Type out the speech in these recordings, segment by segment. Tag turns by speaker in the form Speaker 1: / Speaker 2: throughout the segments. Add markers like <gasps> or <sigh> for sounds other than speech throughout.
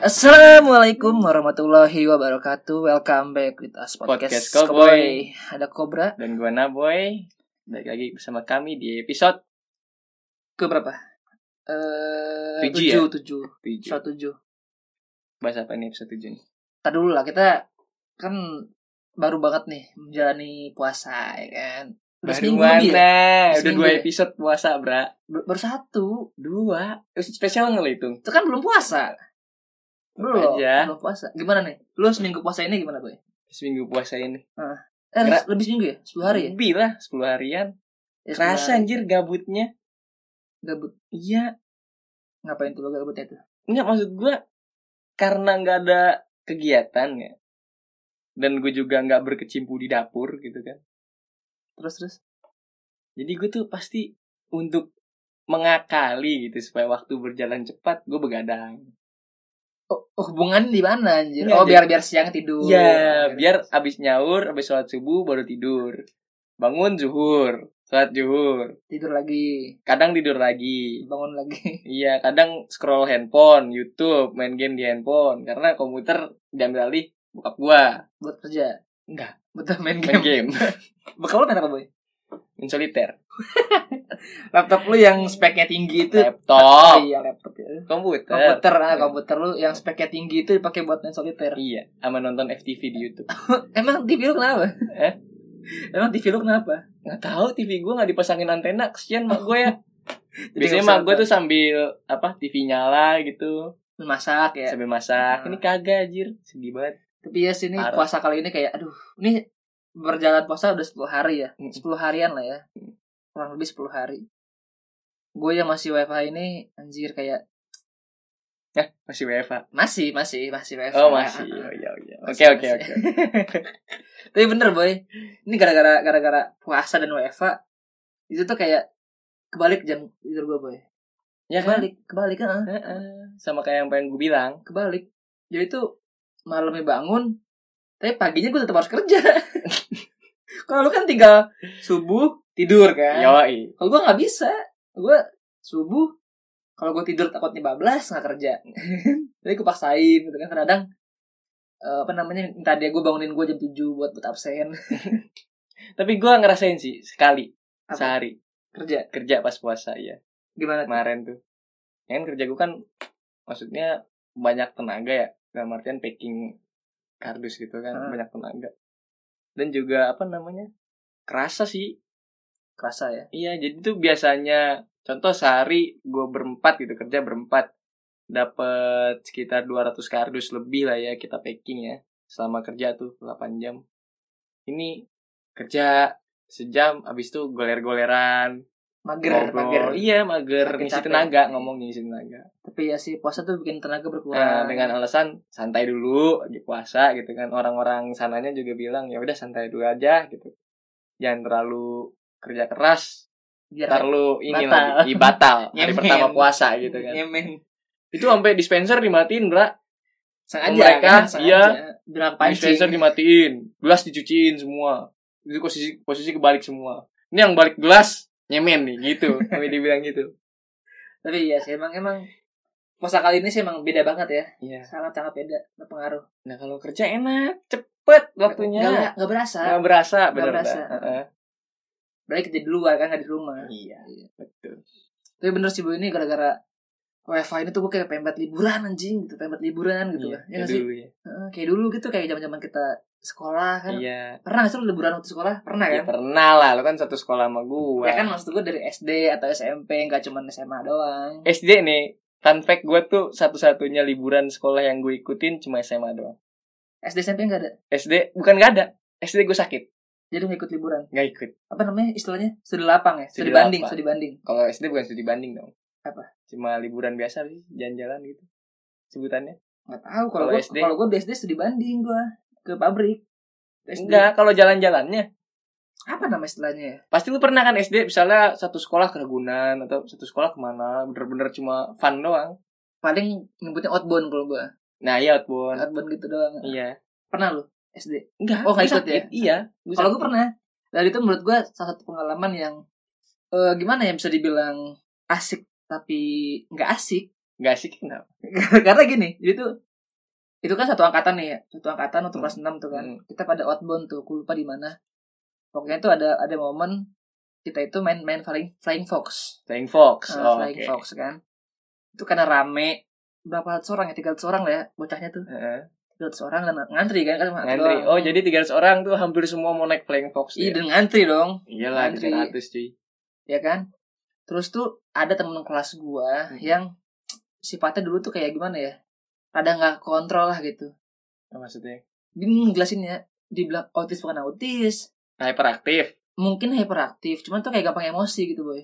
Speaker 1: Assalamualaikum warahmatullahi wabarakatuh. Welcome back with us podcast,
Speaker 2: Podcast Cowboy.
Speaker 1: Cowboy. Ada Cobra
Speaker 2: Dan gue Naboy Balik lagi bersama kami di episode
Speaker 1: ke berapa? Eh
Speaker 2: Tujuh ya?
Speaker 1: tujuh, tujuh,
Speaker 2: 7
Speaker 1: Episode tujuh.
Speaker 2: Bahas apa nih episode 7 nih?
Speaker 1: Tar dulu lah kita kan baru banget nih menjalani puasa ya kan. Udah
Speaker 2: Baru
Speaker 1: seminggu
Speaker 2: mana?
Speaker 1: lebih ya? Udah
Speaker 2: Udah
Speaker 1: seminggu
Speaker 2: 2
Speaker 1: ya?
Speaker 2: episode puasa bra
Speaker 1: Ber- Baru satu.
Speaker 2: 2 Episode spesial nggak lo hitung?
Speaker 1: Itu kan belum puasa. Belum,
Speaker 2: aja.
Speaker 1: belum puasa. Gimana nih? Lu seminggu puasa ini gimana, Boy?
Speaker 2: Seminggu puasa ini
Speaker 1: Eh,
Speaker 2: Gerak.
Speaker 1: lebih seminggu ya? 10 hari ya?
Speaker 2: Lebih lah 10 harian
Speaker 1: ya 10
Speaker 2: Kerasa
Speaker 1: hari.
Speaker 2: anjir gabutnya
Speaker 1: gabut.
Speaker 2: Iya
Speaker 1: Ngapain tuh lo gabutnya tuh?
Speaker 2: Enggak maksud gue Karena nggak ada kegiatan ya Dan gue juga nggak berkecimpung di dapur gitu kan
Speaker 1: Terus terus.
Speaker 2: Jadi gue tuh pasti untuk mengakali gitu supaya waktu berjalan cepat gue begadang.
Speaker 1: Oh, hubungan di mana anjir?
Speaker 2: Iya,
Speaker 1: oh,
Speaker 2: jadi-
Speaker 1: biar biar siang tidur.
Speaker 2: Iya,
Speaker 1: Gitu.
Speaker 2: biar abis nyaur, abis sholat subuh baru tidur. Bangun zuhur, sholat zuhur.
Speaker 1: tidur lagi,
Speaker 2: Kadang tidur lagi.
Speaker 1: bangun lagi. <laughs>
Speaker 2: Iya, kadang scroll handphone, YouTube, main game di handphone karena komputer diambil alih bokap gua.
Speaker 1: buat kerja.
Speaker 2: Enggak.
Speaker 1: Buat <laughs> main
Speaker 2: Main
Speaker 1: game.
Speaker 2: game,
Speaker 1: Bekal lu main apa, Boy?
Speaker 2: main soliter,
Speaker 1: Laptop lu yang speknya tinggi <laughs> itu
Speaker 2: laptop,
Speaker 1: Iya, laptop ya.
Speaker 2: komputer.
Speaker 1: Komputer, ah, komputer lu yang speknya tinggi itu dipakai buat main solitaire.
Speaker 2: Iya, sama nonton FTV di YouTube.
Speaker 1: Emang TV lu kenapa?
Speaker 2: Eh?
Speaker 1: <laughs> Emang TV lu kenapa?
Speaker 2: Nggak tahu TV gua nggak dipasangin antena, kesian mak gue ya.
Speaker 1: <laughs> Jadi
Speaker 2: Biasanya
Speaker 1: nggak bisa
Speaker 2: mak gue
Speaker 1: nonton.
Speaker 2: tuh sambil apa TV nyala gitu,
Speaker 1: masak ya.
Speaker 2: sambil masak. Ini kagak anjir, sedih banget.
Speaker 1: Tapi ya sini
Speaker 2: Parah.
Speaker 1: puasa kali ini kayak aduh, ini berjalan puasa udah 10 hari ya.
Speaker 2: Mm.
Speaker 1: 10 harian lah ya. Kurang lebih 10 hari. Gue yang masih WFH ini anjir kayak
Speaker 2: Masih WFH.
Speaker 1: masih masih masih WFH.
Speaker 2: Oh, masih.
Speaker 1: <laughs>
Speaker 2: Oh, iya, iya. Oke, oke,
Speaker 1: masih.
Speaker 2: oke.
Speaker 1: Tapi bener boy, ini gara-gara gara-gara puasa dan WFH itu tuh kayak kebalik jam tidur gue boy.
Speaker 2: <laughs> Ya kan?
Speaker 1: Kebalik, kebalik kan?
Speaker 2: Heeh. Sama kayak yang pengen gue bilang.
Speaker 1: kebalik. Jadi tuh malamnya bangun, tapi paginya gue tetap harus kerja. <laughs> Kalau lu kan tinggal subuh tidur kan.
Speaker 2: Yoi.
Speaker 1: Kalau gue nggak bisa, gue subuh kalau gue tidur takutnya bablas nggak
Speaker 2: <laughs>
Speaker 1: kerja. Jadi gue paksain gitu kan kadang eh, apa namanya minta dia gue bangunin gue jam 7 buat buat absen <laughs>
Speaker 2: Tapi gue ngerasain sih sekali
Speaker 1: Apa?
Speaker 2: sehari
Speaker 1: kerja
Speaker 2: kerja pas puasa ya.
Speaker 1: gimana tuh?
Speaker 2: Kemarin tuh. Ya kan kerja gue kan maksudnya banyak tenaga ya. Dalam artian packing kardus gitu kan,
Speaker 1: Heeh.
Speaker 2: banyak tenaga. Dan juga apa namanya? Kerasa sih.
Speaker 1: kerasa ya
Speaker 2: Iya, jadi tuh biasanya contoh sehari gue berempat gitu kerja berempat dapat sekitar 200 kardus lebih lah ya kita packing ya selama kerja tuh 8 jam. Ini kerja sejam abis itu goler-goleran,
Speaker 1: mager mager
Speaker 2: Iya, mager
Speaker 1: Capek-capek.
Speaker 2: ngisi tenaga, ngomong ngisi tenaga.
Speaker 1: tapi ya sih puasa tuh bikin tenaga
Speaker 2: Nah,
Speaker 1: berkurang
Speaker 2: dengan alasan santai dulu lagi puasa gitu kan. Orang-orang sananya juga bilang ya udah santai dulu aja gitu. Jangan terlalu kerja keras
Speaker 1: biar
Speaker 2: ntar lu
Speaker 1: Batal.
Speaker 2: ini lagi Ih, batal hari
Speaker 1: Nyemen.
Speaker 2: pertama puasa gitu kan
Speaker 1: nyemen
Speaker 2: itu sampai dispenser dimatiin bra
Speaker 1: sengaja
Speaker 2: Mereka,
Speaker 1: kan, sengaja.
Speaker 2: iya.
Speaker 1: bilang pancing
Speaker 2: dispenser dimatiin gelas dicuciin semua itu posisi posisi kebalik semua ini yang balik gelas nyemen nih gitu kami dibilang gitu
Speaker 1: <laughs> Tapi iya sih emang emang puasa kali ini sih emang beda banget ya.
Speaker 2: iya
Speaker 1: Sangat sangat beda berpengaruh.
Speaker 2: <laughs> nah kalau kerja enak cepet
Speaker 1: Gak,
Speaker 2: waktunya
Speaker 1: berasa.
Speaker 2: nggak berasa
Speaker 1: Nggak
Speaker 2: bener
Speaker 1: berasa.
Speaker 2: Heeh.
Speaker 1: Berarti kerja di luar kan gak di rumah.
Speaker 2: iya betul
Speaker 1: Tapi bener sih bu ini gara-gara WFH ini tuh gue kayak pengen banget liburan anjing gitu, pengen banget liburan gitu
Speaker 2: iya,
Speaker 1: lah. Ya
Speaker 2: kayak
Speaker 1: nggak sih?
Speaker 2: dulu ya
Speaker 1: Heeh, kayak dulu gitu kayak zaman-zaman kita sekolah kan.
Speaker 2: iya
Speaker 1: Pernah gak sih lu liburan waktu sekolah? Pernah
Speaker 2: Ya,
Speaker 1: kan?
Speaker 2: pernah lah lo kan satu sekolah sama gua
Speaker 1: Ya kan maksud gue dari SD atau SMP nggak cuma SMA doang.
Speaker 2: SD nih fun fact gue tuh satu-satunya liburan sekolah yang gue ikutin cuma SMA doang
Speaker 1: SD SMP nggak ada.
Speaker 2: SD bukan nggak ada SD gue sakit
Speaker 1: Jadi nggak ikut liburan.
Speaker 2: nggak ikut
Speaker 1: Apa namanya istilahnya? Studi lapang ya. Studi,
Speaker 2: Studi
Speaker 1: banding,
Speaker 2: lapang.
Speaker 1: studi banding.
Speaker 2: kalau SD bukan studi banding dong
Speaker 1: Apa?
Speaker 2: cuma liburan biasa sih jalan-jalan gitu sebutannya
Speaker 1: Nggak tahu kalau
Speaker 2: Kalau
Speaker 1: gue
Speaker 2: SD?
Speaker 1: kalau gue di SD studi banding gue ke pabrik. SD.
Speaker 2: enggak kalau jalan-jalannya
Speaker 1: Apa nama istilahnya ya?
Speaker 2: pasti lu pernah kan SD misalnya satu sekolah ke Ragunan atau satu sekolah kemana bener-bener cuma fun doang
Speaker 1: Paling nyebutnya outbound kalau gue.
Speaker 2: nah iya outbound
Speaker 1: Outbound gitu doang.
Speaker 2: iya
Speaker 1: Pernah lu SD?
Speaker 2: enggak
Speaker 1: Oh, nggak
Speaker 2: gua
Speaker 1: ikut ya?
Speaker 2: sakit. iya
Speaker 1: Kalau gue
Speaker 2: sakit.
Speaker 1: pernah. Dan itu menurut gue salah satu pengalaman yang eh, gimana ya bisa dibilang asik <laughs> tapi nggak asik
Speaker 2: nggak asik kenapa
Speaker 1: karena gini jadi tuh itu kan satu angkatan nih ya satu angkatan untuk kelas 6 tuh kan
Speaker 2: Hmm.
Speaker 1: kita pada outbound tuh aku lupa di mana pokoknya tuh ada ada momen kita itu main main flying flying fox
Speaker 2: Flying Fox.
Speaker 1: Nah,
Speaker 2: oh,
Speaker 1: flying
Speaker 2: oke.
Speaker 1: fox kan itu karena rame berapa ratus orang ya tiga ratus orang lah ya bocahnya tuh
Speaker 2: Heeh.
Speaker 1: tiga ratus orang dan ngantri kan kan cuma satu
Speaker 2: Ngantri.
Speaker 1: doang.
Speaker 2: Oh, jadi 300 orang tuh hampir semua mau naik Flying Fox.
Speaker 1: iya
Speaker 2: tuh ya?
Speaker 1: dan ngantri dong
Speaker 2: Iyalah,
Speaker 1: ngantri.
Speaker 2: 300 cuy.
Speaker 1: ya kan terus tuh ada temen kelas gua
Speaker 2: Hmm.
Speaker 1: yang sifatnya dulu tuh kayak gimana ya rada nggak kontrol lah gitu
Speaker 2: Apa Maksudnya
Speaker 1: bingung jelasinnya dibilang autis bukan autis
Speaker 2: hyperaktif,
Speaker 1: mungkin hyperaktif cuman tuh kayak gampang emosi gitu boy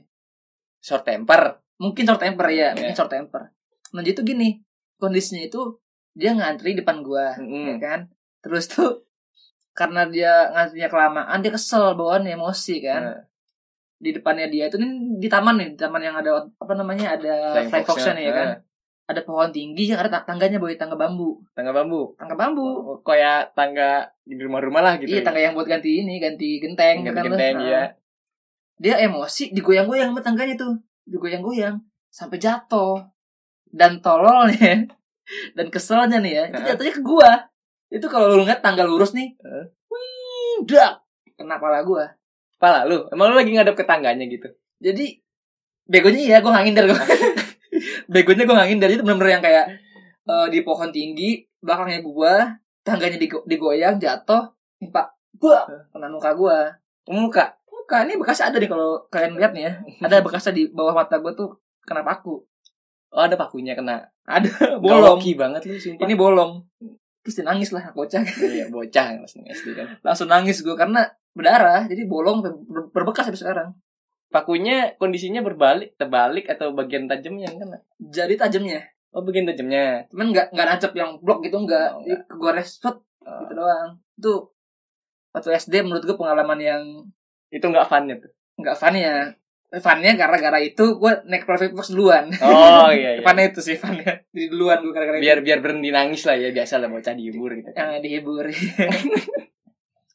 Speaker 2: short temper.
Speaker 1: mungkin short temper ya mungkin
Speaker 2: Iya.
Speaker 1: short temper nah jadi tuh gini kondisinya itu dia ngantri depan gua ya
Speaker 2: Mm-mm.
Speaker 1: kan terus tuh <laughs> karena dia ngantrinya kelamaan dia kesel bawaan emosi kan
Speaker 2: Nah,
Speaker 1: di depannya dia itu nih di taman nih di taman yang ada apa namanya ada
Speaker 2: Flying
Speaker 1: flying
Speaker 2: Fox-nya,
Speaker 1: foxnya nih ya kan
Speaker 2: nah.
Speaker 1: ada pohon tinggi yang ada ta- tangganya boy tangga bambu
Speaker 2: tangga bambu.
Speaker 1: tangga bambu
Speaker 2: Oh, kayak tangga di rumah-rumah lah gitu.
Speaker 1: iya tangga yang buat ganti ini ganti genteng
Speaker 2: yang
Speaker 1: kan lo?
Speaker 2: genteng
Speaker 1: Nah,
Speaker 2: ya.
Speaker 1: dia emosi digoyang-goyang sama tangganya tuh digoyang-goyang sampai jatuh dan tololnya <laughs> dan keselnya nih ya itu
Speaker 2: Heeh.
Speaker 1: jatuhnya ke gua itu kalau lu ngeliat tangga lurus nih
Speaker 2: Heeh.
Speaker 1: wih dak kena pala gua
Speaker 2: Pala lu, emang lu lagi ngadep ke tangganya gitu.
Speaker 1: jadi begonya iya gua nggak ngindar gua <laughs> begonya gua nggak ngindar itu bener-bener yang kayak eh, di pohon tinggi belakangnya gua tangganya digo- digoyang jatuh pak buah kena muka gua
Speaker 2: Ke Muka.
Speaker 1: muka ini bekasnya ada nih kalau kalian lihat nih
Speaker 2: <laughs>
Speaker 1: ya ada bekasnya di bawah mata gua tuh kena paku
Speaker 2: Oh, ada pakunya kena. Ya,
Speaker 1: ada bolong
Speaker 2: Gawaki banget lu sumpah.
Speaker 1: ini bolong terus dia nangis lah bocah
Speaker 2: <laughs>
Speaker 1: <laughs>
Speaker 2: iya, bocah kelas enam SD kan.
Speaker 1: langsung nangis gue karena berdarah jadi bolong ber- berbekas sampai sekarang
Speaker 2: Pakunya kondisinya berbalik, terbalik atau bagian tajamnya yang kena.
Speaker 1: jadi tajamnya
Speaker 2: Oh, bagian tajamnya.
Speaker 1: cuman nggak nggak nancep yang blok gitu nggak
Speaker 2: Oh,
Speaker 1: jadi
Speaker 2: nggak.
Speaker 1: kegores set
Speaker 2: Oh,
Speaker 1: gitu doang itu waktu SD menurut gue pengalaman yang
Speaker 2: itu nggak fun tuh.
Speaker 1: nggak fun ya funnya gara-gara itu gue naik private box duluan
Speaker 2: Oh, iya iya.
Speaker 1: funnya itu sih funnya jadi duluan gue gara-gara itu
Speaker 2: biar biar berhenti nangis lah ya biasa lah bocah dihibur gitu kan.
Speaker 1: yang dihibur Eh. <laughs>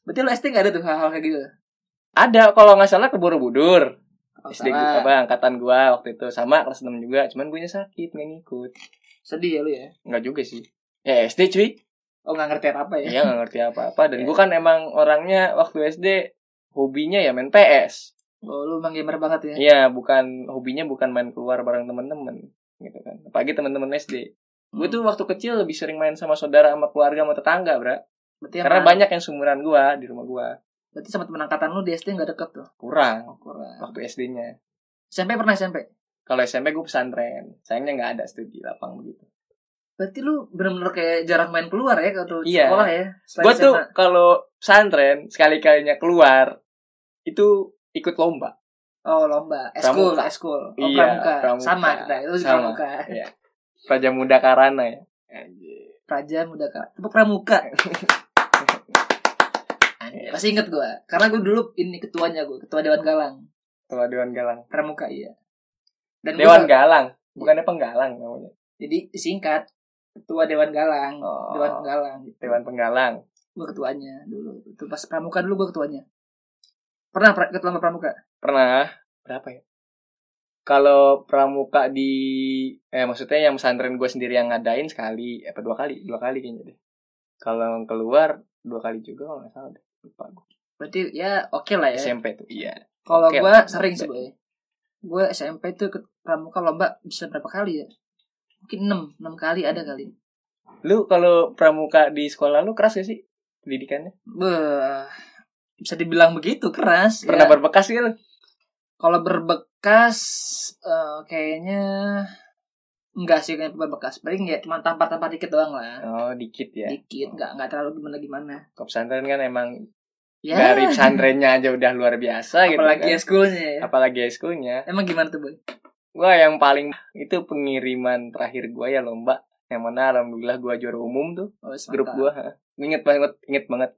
Speaker 1: berarti lo SD nggak ada tuh hal-hal kayak gitu
Speaker 2: ada kalau nggak salah ke Borobudur
Speaker 1: Kalau Oh,
Speaker 2: SD
Speaker 1: salah,
Speaker 2: gua apa angkatan gua waktu itu sama kelas 6 juga cuman guanya sakit nggak ngikut
Speaker 1: sedih ya lo ya
Speaker 2: nggak juga sih ya SD cuy
Speaker 1: oh nggak ngerti apa-apa ya
Speaker 2: iya nggak ngerti apa apa dan gua kan emang orangnya waktu SD hobinya ya main PS
Speaker 1: oh lo emang gamer banget ya
Speaker 2: iya bukan hobinya bukan main keluar bareng temen-temen gitu kan apalagi temen-temen SD gua
Speaker 1: Hmm.
Speaker 2: tuh waktu kecil lebih sering main sama saudara sama keluarga sama tetangga bra
Speaker 1: berarti yang
Speaker 2: karena
Speaker 1: mana?
Speaker 2: banyak yang sumuran gua di rumah gua
Speaker 1: Berarti sama temen angkatan lu di SD gak deket tuh Hmm. Oh,
Speaker 2: kurang
Speaker 1: Kurang
Speaker 2: waktu SD-nya
Speaker 1: SMP pernah SMP?
Speaker 2: kalau SMP gue pesantren sayangnya nggak ada studi lapang begitu
Speaker 1: Berarti lu bener-bener kayak jarang main keluar ya Kalau
Speaker 2: Iya.
Speaker 1: sekolah ya Selain
Speaker 2: gue tuh
Speaker 1: SMA.
Speaker 2: kalau pesantren sekali kalinya keluar itu ikut lomba
Speaker 1: Oh lomba Eskul
Speaker 2: Pramuka.
Speaker 1: Eskul Oh
Speaker 2: Iya,
Speaker 1: pramuka.
Speaker 2: pramuka.
Speaker 1: Sama kita Itu
Speaker 2: Sama.
Speaker 1: sama. pramuka
Speaker 2: Raja Muda Karana ya
Speaker 1: Praja muda kak Tepuk
Speaker 2: <laughs>
Speaker 1: pramuka Anjir, Pasti inget gue Karena gue dulu ini ketuanya gue Ketua Dewan Galang
Speaker 2: Ketua Dewan Galang
Speaker 1: Pramuka iya Dan gua-
Speaker 2: Dewan Galang bukannya penggalang namanya
Speaker 1: Jadi singkat Ketua Dewan Galang
Speaker 2: oh,
Speaker 1: Dewan Galang gitu.
Speaker 2: Dewan Penggalang
Speaker 1: Gue ketuanya dulu Itu pas pramuka dulu gue ketuanya Pernah pra- ikut lomba pramuka?
Speaker 2: pernah berapa ya kalau pramuka di eh maksudnya yang pesantren gue sendiri yang ngadain sekali eh, apa dua kali dua kali kayaknya deh kalau yang keluar dua kali juga kalau nggak salah deh lupa gue
Speaker 1: Berarti ya oke lah ya
Speaker 2: SMP tuh iya
Speaker 1: Kalau
Speaker 2: Oke
Speaker 1: gue
Speaker 2: lah.
Speaker 1: sering sih boy. Gue SMP tuh ke pramuka lomba bisa berapa kali ya? Mungkin 6, 6 kali ada kali.
Speaker 2: lu kalau pramuka di sekolah lu keras gak sih pendidikannya
Speaker 1: Beuh, bisa dibilang begitu keras.
Speaker 2: pernah
Speaker 1: ya.
Speaker 2: berbekas gitu
Speaker 1: Kalau berbekas eh, kayaknya enggak sih kayaknya berbekas. Paling ya cuma tampar-tampar dikit doang lah.
Speaker 2: oh dikit ya
Speaker 1: Dikit, enggak enggak terlalu gimana gimana.
Speaker 2: Kalau pesantren kan emang
Speaker 1: Ya.
Speaker 2: dari pesantrennya aja udah luar biasa gitu
Speaker 1: apalagi ya
Speaker 2: kan.
Speaker 1: schoolnya ya.
Speaker 2: apalagi eskulnya
Speaker 1: Emang gimana tuh boy?
Speaker 2: gua yang paling itu pengiriman terakhir gua ya lomba yang mana alhamdulillah gua juara umum tuh
Speaker 1: Oh,
Speaker 2: grup
Speaker 1: mantap.
Speaker 2: gua ha. inget banget inget banget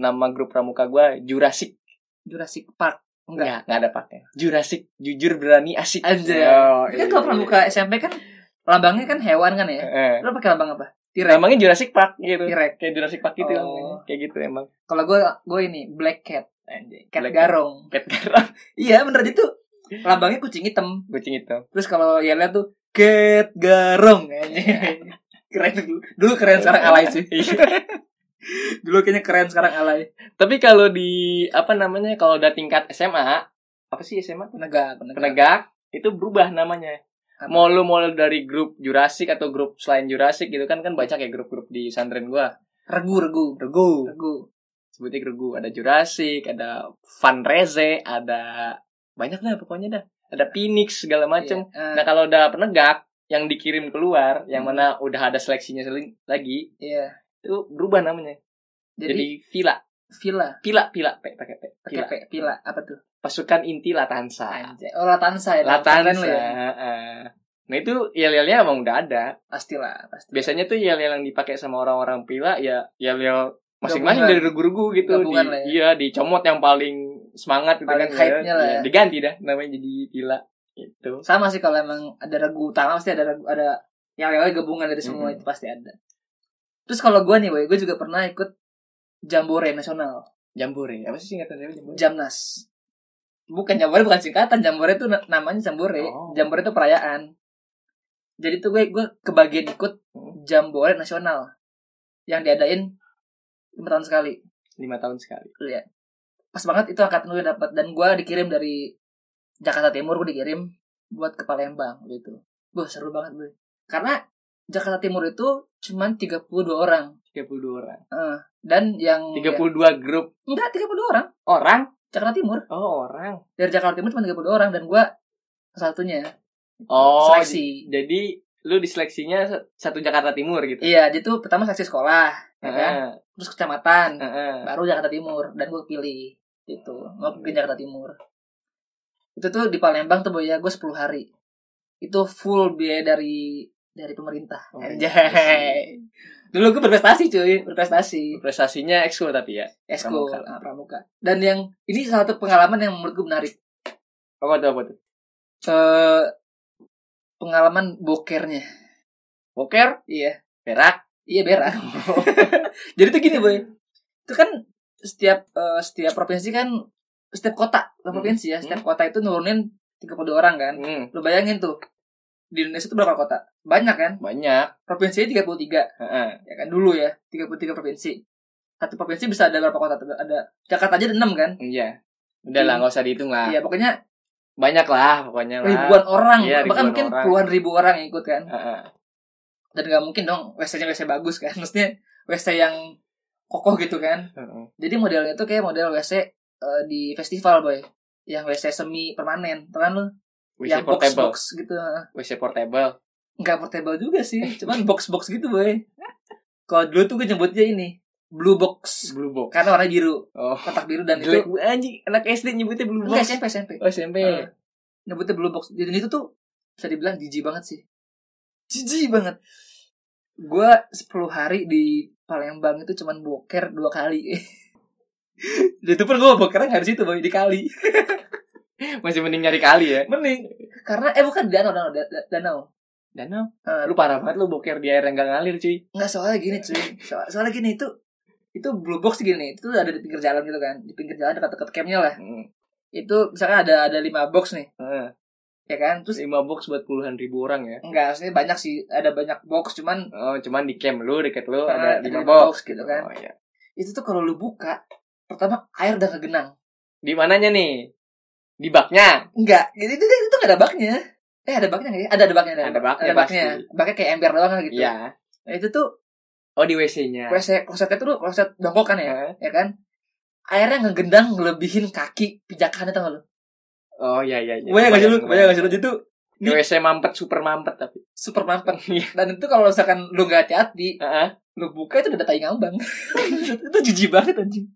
Speaker 2: nama grup pramuka gua Jurassic
Speaker 1: Jurassic Park. Enggak.
Speaker 2: nggak nggak ada paknya Jurassic jujur berani asik
Speaker 1: Anjay.
Speaker 2: Yo,
Speaker 1: Kan
Speaker 2: iya. Iya.
Speaker 1: kalau pramuka SMP kan lambangnya kan hewan kan ya.
Speaker 2: Heeh.
Speaker 1: Lo pakai lambang apa? Tirek.
Speaker 2: namanya Jurassic Park gitu
Speaker 1: Tirek.
Speaker 2: kayak Jurassic Park
Speaker 1: Oh.
Speaker 2: gitu namanya kayak gitu emang
Speaker 1: Kalau gue gue ini black cat. Anjay, cat
Speaker 2: Black
Speaker 1: garong.
Speaker 2: cat garong
Speaker 1: Iya bener itu. Lambangnya kucing hitam.
Speaker 2: kucing itu
Speaker 1: Iya. Terus kalau ya lihat tuh cat garong anjay. <laughs> keren dulu dulu keren sekarang alay sih
Speaker 2: Iya.
Speaker 1: <laughs> dulu kayaknya keren sekarang alay
Speaker 2: Tapi kalau di apa namanya kalau udah tingkat SMA apa sih SMA
Speaker 1: penegak penegak,
Speaker 2: penegak itu berubah namanya.
Speaker 1: Apa?
Speaker 2: Mau lu mau lu dari grup Jurassic atau grup selain Jurassic gitu kan kan banyak ya grup-grup di santren gua.
Speaker 1: regu regu
Speaker 2: Regu.
Speaker 1: regu
Speaker 2: Sebutnya regu ada Jurassic, ada Van Reze, ada banyak lah pokoknya dah. Ada Phoenix segala macem.
Speaker 1: Iya. Ah,
Speaker 2: Nah kalau udah penegak yang dikirim keluar, yang
Speaker 1: Hmm.
Speaker 2: mana udah ada seleksinya sel- lagi,
Speaker 1: iya.
Speaker 2: itu berubah namanya.
Speaker 1: jadi,
Speaker 2: Jadi, Vila,
Speaker 1: villa
Speaker 2: Pila, Pila, P pakai P.
Speaker 1: pakai
Speaker 2: Pila.
Speaker 1: P, villa apa tuh
Speaker 2: Pasukan inti Latansa.
Speaker 1: Anjay. oh latansa ya
Speaker 2: Latansa.
Speaker 1: lu ya
Speaker 2: heeh. Nah itu yel-yelnya emang udah ada.
Speaker 1: pastilah pasti
Speaker 2: biasanya tuh yel yang dipakai sama orang-orang pila ya yel yel
Speaker 1: Gabungan.
Speaker 2: masing-masing dari regu-regu gitu
Speaker 1: Gabungan
Speaker 2: di,
Speaker 1: lah ya.
Speaker 2: iya dicomot yang paling semangat gitu
Speaker 1: Paling
Speaker 2: kan
Speaker 1: hype-nya lah
Speaker 2: Iya,
Speaker 1: ya.
Speaker 2: diganti dah namanya jadi pila gitu. itu
Speaker 1: sama sih kalau emang ada regu utama pasti ada regu ada yang lain gabungan dari semua
Speaker 2: Mm-mm.
Speaker 1: itu pasti ada terus kalau gue nih boy gue juga pernah ikut jambore nasional
Speaker 2: jambore apa sih singkatan dari jambore
Speaker 1: jamnas bukan jambore bukan singkatan jambore itu na- namanya jambore
Speaker 2: Oh.
Speaker 1: jambore itu perayaan jadi tuh gue gue kebagian ikut jambore nasional yang diadain lima tahun sekali
Speaker 2: lima tahun sekali
Speaker 1: pas banget itu angkatan gue dapat dan gue dikirim dari Jakarta Timur gue dikirim buat ke Palembang gitu. Wah seru banget gue. Karena Jakarta Timur itu cuman 32 orang.
Speaker 2: 32 orang
Speaker 1: Eh, dan yang
Speaker 2: 32
Speaker 1: iya.
Speaker 2: grup
Speaker 1: enggak 32 orang.
Speaker 2: orang
Speaker 1: Jakarta Timur.
Speaker 2: oh orang
Speaker 1: Dari Jakarta Timur cuma 32 orang dan gue salah satunya.
Speaker 2: oh
Speaker 1: seleksi.
Speaker 2: j- jadi lu diseleksinya se- satu Jakarta Timur gitu
Speaker 1: Iya, jadi tuh pertama seleksi sekolah, ya kan?
Speaker 2: Heeh,
Speaker 1: Terus kecamatan,
Speaker 2: heeh.
Speaker 1: baru Jakarta Timur dan gue pilih gitu. Mau
Speaker 2: Iya.
Speaker 1: ke Jakarta Timur. Itu tuh di Palembang tuh boy, ya gue 10 hari. Itu full biaya dari dari pemerintah.
Speaker 2: Oh,
Speaker 1: Anjay. Dulu gue berprestasi cuy, berprestasi.
Speaker 2: prestasinya ekskul tapi ya
Speaker 1: Esko
Speaker 2: Pramuka.
Speaker 1: pramuka. pramuka. Dan yang ini salah satu pengalaman yang menurut gue menarik.
Speaker 2: apa tuh apa tuh
Speaker 1: Eh pengalaman bokernya.
Speaker 2: poker
Speaker 1: Iya,
Speaker 2: perak
Speaker 1: iya berak. <laughs> Jadi tuh gini boy, itu kan setiap eh, setiap provinsi kan setiap kota bukan
Speaker 2: Hmm.
Speaker 1: provinsi ya, setiap kota itu nurunin 32 orang kan.
Speaker 2: Hmm,
Speaker 1: Lu bayangin tuh di Indonesia itu berapa kota? Banyak kan?
Speaker 2: banyak
Speaker 1: Provinsinya 33
Speaker 2: Heeh.
Speaker 1: ya kan dulu ya, 33 provinsi. Satu provinsi bisa ada berapa kota? tuh? Ada Jakarta aja ada 6 kan?
Speaker 2: Iya. Udah lah, nggak usah dihitung lah.
Speaker 1: Iya, pokoknya
Speaker 2: Banyak lah, pokoknya Ah. lah.
Speaker 1: ribuan orang,
Speaker 2: Iya,
Speaker 1: bahkan
Speaker 2: ribuan
Speaker 1: mungkin
Speaker 2: orang.
Speaker 1: puluhan ribu orang yang ikut kan.
Speaker 2: Heeh.
Speaker 1: Dan nggak mungkin dong WC-nya WC bagus kan. <laughs> Maksudnya WC yang kokoh gitu kan.
Speaker 2: Heeh.
Speaker 1: Jadi modelnya itu kayak model WC eh, di festival boy, yang WC semi permanen, tau kan lu?
Speaker 2: WC
Speaker 1: yang box
Speaker 2: portable.
Speaker 1: box gitu,
Speaker 2: WC portable.
Speaker 1: nggak portable juga sih, cuman box box gitu boy. Kalau dulu tuh gue nyebutnya ini blue box,
Speaker 2: Blue box.
Speaker 1: karena warna biru,
Speaker 2: Oh.
Speaker 1: kotak biru dan
Speaker 2: Jelek
Speaker 1: itu
Speaker 2: bu- anjing, anak SD nyebutnya blue
Speaker 1: enggak
Speaker 2: box.
Speaker 1: SMP SMP,
Speaker 2: Oh, SMP.
Speaker 1: Eh, nyebutnya blue box. Jadi itu tuh bisa dibilang jijik banget sih, jijik banget. Gue 10 hari di Palembang itu cuman boker dua kali. <laughs> Dan itu pun gue bokernya nggak di situ boy, di kali.
Speaker 2: <laughs> Masih mending nyari kali ya.
Speaker 1: Mending. Karena eh bukan danau danau da- da- danau.
Speaker 2: Danau.
Speaker 1: Eh,
Speaker 2: Lu parah banget lu boker di air yang gak ngalir, cuy.
Speaker 1: nggak soalnya gini cuy. So- soalnya gini itu itu blue box gini itu ada di pinggir jalan gitu kan di pinggir jalan dekat-dekat campnya lah
Speaker 2: Heeh.
Speaker 1: itu misalkan ada ada lima box nih
Speaker 2: Heeh.
Speaker 1: ya kan terus
Speaker 2: Lima box buat puluhan ribu orang ya.
Speaker 1: enggak maksudnya banyak sih ada banyak box cuman
Speaker 2: Oh, cuman di camp lu deket lu
Speaker 1: Heeh,
Speaker 2: ada
Speaker 1: ada Nah,
Speaker 2: lima
Speaker 1: lima box
Speaker 2: box
Speaker 1: gitu kan.
Speaker 2: Oh, iya.
Speaker 1: itu tuh kalau lu buka pertama air udah kegenang
Speaker 2: Di mananya nih? Di baknya.
Speaker 1: enggak jadi itu itu nggak ada baknya eh ada baknya nggak ya ada ada baknya
Speaker 2: Ada baknya
Speaker 1: ada baknya baknya kayak ember doang lah gitu
Speaker 2: Iya.
Speaker 1: nah, itu tuh
Speaker 2: Oh, di WC-nya.
Speaker 1: kloset klosetnya tuh kloset dongkok kan ya
Speaker 2: Heeh.
Speaker 1: ya kan airnya ngegendang ngelebihin kaki pijakannya tau gak lu
Speaker 2: Oh, iya iya iya.
Speaker 1: Banyak gak sih lu? Banyak gak sih lu? Jadi tuh
Speaker 2: Di WC mampet super mampet
Speaker 1: <laughs>
Speaker 2: tapi.
Speaker 1: super mampet Dan itu kalau misalkan lu gak hati-hati
Speaker 2: Heeh.
Speaker 1: Lu buka itu udah tai ngambang Itu jijik banget anjing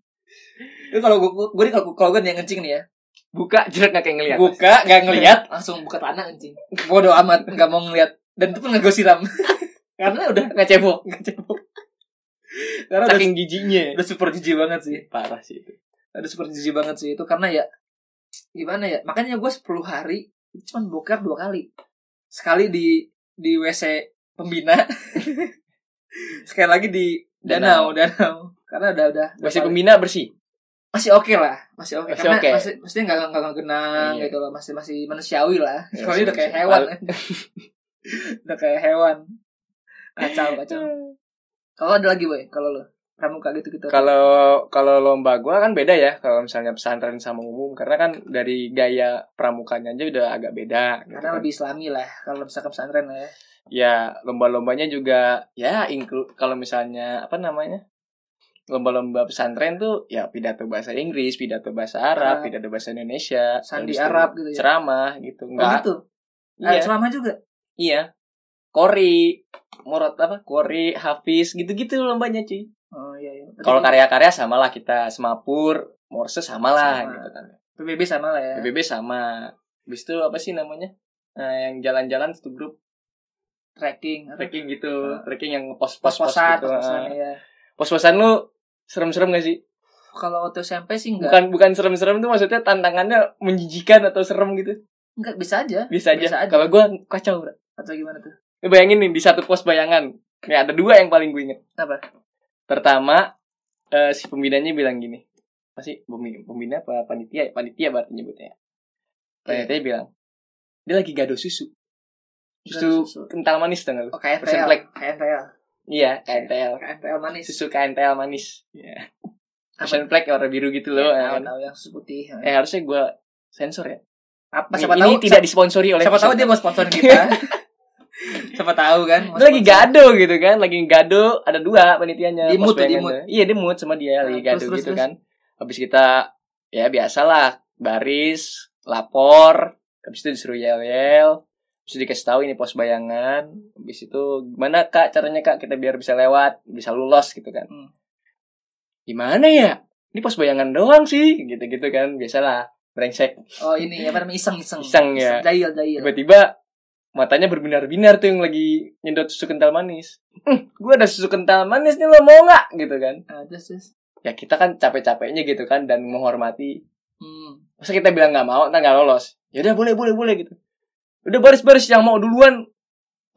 Speaker 1: Itu kalau gue, gue, nih kalau kalau gue nih yang ngencing nih ya
Speaker 2: buka jelas nggak kayak ngeliat
Speaker 1: Buka, gak ngeliat Langsung buka tanah ngencing Bodoh amat, gak mau ngeliat Dan itu pun gak gue siram <laughs> Karena udah
Speaker 2: nggak cebok
Speaker 1: gak cebok Karena udah,
Speaker 2: saking giginya
Speaker 1: udah super jijik banget sih
Speaker 2: parah sih itu
Speaker 1: Udah super jijik banget sih Itu karena ya Gimana ya Makanya gue 10 hari itu Cuman bokap dua kali Sekali di Di WC Pembina <laughs> Sekali lagi di Danau Danau, Karena udah udah
Speaker 2: masih pembina bersih
Speaker 1: masih oke lah masih oke
Speaker 2: Masih
Speaker 1: karena
Speaker 2: oke.
Speaker 1: masih masih nggak nggak nggak genang
Speaker 2: Iya.
Speaker 1: gitu loh masih masih manusiawi lah
Speaker 2: Iya,
Speaker 1: <laughs> kalau ini udah
Speaker 2: masih
Speaker 1: kayak hewan
Speaker 2: manusiawi.
Speaker 1: udah kayak hewan kacau kacau kalau ada lagi boy kalau lo pramuka gitu gitu
Speaker 2: Kalau kalau lomba gua kan beda ya kalau misalnya pesantren sama umum karena kan dari gaya pramukanya aja udah agak beda. gitu
Speaker 1: karena
Speaker 2: kan.
Speaker 1: lebih islami lah kalau misalkan pesantren lah ya
Speaker 2: Ya lomba-lombanya juga ya include kalau misalnya apa namanya lomba-lomba pesantren tuh ya pidato bahasa Inggris, pidato bahasa Arab,
Speaker 1: Arab.
Speaker 2: pidato bahasa Indonesia,
Speaker 1: Ah. sandi
Speaker 2: habis itu
Speaker 1: Arab gitu ya
Speaker 2: ceramah gitu
Speaker 1: oh
Speaker 2: enggak
Speaker 1: gitu
Speaker 2: iya
Speaker 1: ada ceramah juga
Speaker 2: iya kori murad apa kori hafiz gitu-gitu lombanya cuy
Speaker 1: oh iya iya Berarti
Speaker 2: kalau karya-karya samalah kita semapur morse samalah
Speaker 1: Sama.
Speaker 2: gitu kan
Speaker 1: PBB sama lah ya
Speaker 2: PBB sama Habis itu apa sih namanya Nah, yang jalan-jalan satu grup
Speaker 1: tracking apa?
Speaker 2: trekking gitu
Speaker 1: Ah.
Speaker 2: trekking yang pos pos pos
Speaker 1: pos-posan
Speaker 2: gitu
Speaker 1: pos-posan ya
Speaker 2: pos posan lu serem-serem gak sih
Speaker 1: kalau waktu SMP sih enggak
Speaker 2: bukan bukan serem-serem tuh maksudnya tantangannya menjijikan atau serem gitu
Speaker 1: enggak bisa aja
Speaker 2: bisa aja,
Speaker 1: Bisa aja.
Speaker 2: kalau gua kacau bro.
Speaker 1: atau gimana tuh
Speaker 2: Lu bayangin nih di satu pos bayangan nih ada dua yang paling gue inget
Speaker 1: Apa?
Speaker 2: pertama eh, si pembinanya bilang gini pasti pembina, pembina apa panitia ya? panitia berarti
Speaker 1: Iya.
Speaker 2: nyebutnya panitia bilang dia lagi gado susu
Speaker 1: Gado susu.
Speaker 2: susu, kental manis tau gak lu?
Speaker 1: oh KNTL
Speaker 2: Persen black.
Speaker 1: KNTL
Speaker 2: Iya, KNTL.
Speaker 1: KNTL manis
Speaker 2: Susu KNTL manis. Iya.
Speaker 1: Apa?
Speaker 2: Passion flag warna biru gitu loh.
Speaker 1: Ya,
Speaker 2: kan.
Speaker 1: tahu, tahu yang susu putih
Speaker 2: Eh harusnya gue sensor ya.
Speaker 1: apa
Speaker 2: Ini-
Speaker 1: siapa
Speaker 2: ini
Speaker 1: tahu
Speaker 2: tidak disponsori oleh.
Speaker 1: siapa tahu dia mau sponsorin
Speaker 2: <laughs>
Speaker 1: kita siapa tahu kan mau
Speaker 2: Dia lagi
Speaker 1: sponsor.
Speaker 2: gado gitu kan, lagi gado ada dua panitianya.
Speaker 1: Di
Speaker 2: pas
Speaker 1: mood tuh, di
Speaker 2: bayangan
Speaker 1: mood.
Speaker 2: tuh. Iya, di mood sama dia lagi
Speaker 1: Nah,
Speaker 2: gado
Speaker 1: terus, terus,
Speaker 2: gitu
Speaker 1: terus.
Speaker 2: kan. Habis kita ya biasalah baris, lapor, habis itu disuruh yel-yel. Habis itu dikasih tahu ini pos bayangan. Habis itu gimana Kak caranya Kak kita biar bisa lewat, bisa lolos gitu kan.
Speaker 1: Hmm.
Speaker 2: Gimana ya? Ini pos bayangan doang sih, gitu-gitu kan. Biasalah brengsek.
Speaker 1: oh ini apa namanya iseng iseng
Speaker 2: Iseng, ya.
Speaker 1: jahil jahil
Speaker 2: Tiba-tiba matanya berbinar-binar tuh yang lagi nyedot susu kental manis. Hmm, gue ada susu kental manis nih lo mau nggak gitu kan?
Speaker 1: Nah, terus terus
Speaker 2: Ya kita kan capek-capeknya gitu kan dan menghormati.
Speaker 1: hmm.
Speaker 2: Masa kita bilang nggak mau, ntar nggak lolos. Ya udah boleh boleh boleh gitu. Udah baris-baris yang mau duluan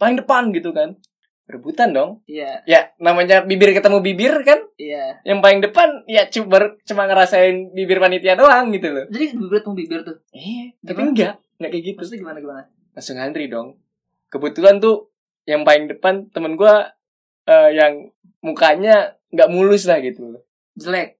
Speaker 2: paling depan gitu kan. Rebutan dong.
Speaker 1: iya
Speaker 2: Ya namanya bibir ketemu bibir kan.
Speaker 1: iya
Speaker 2: Yang paling depan ya cuma cuma ngerasain bibir panitia doang gitu loh.
Speaker 1: jadi bibir tuh bibir tuh
Speaker 2: Eh, tapi
Speaker 1: Gimana?
Speaker 2: enggak, enggak kayak gitu.
Speaker 1: terus gimana gimana
Speaker 2: langsung ngantri dong. Kebetulan tuh yang paling depan temen gua eh, yang mukanya nggak mulus lah gitu.
Speaker 1: jelek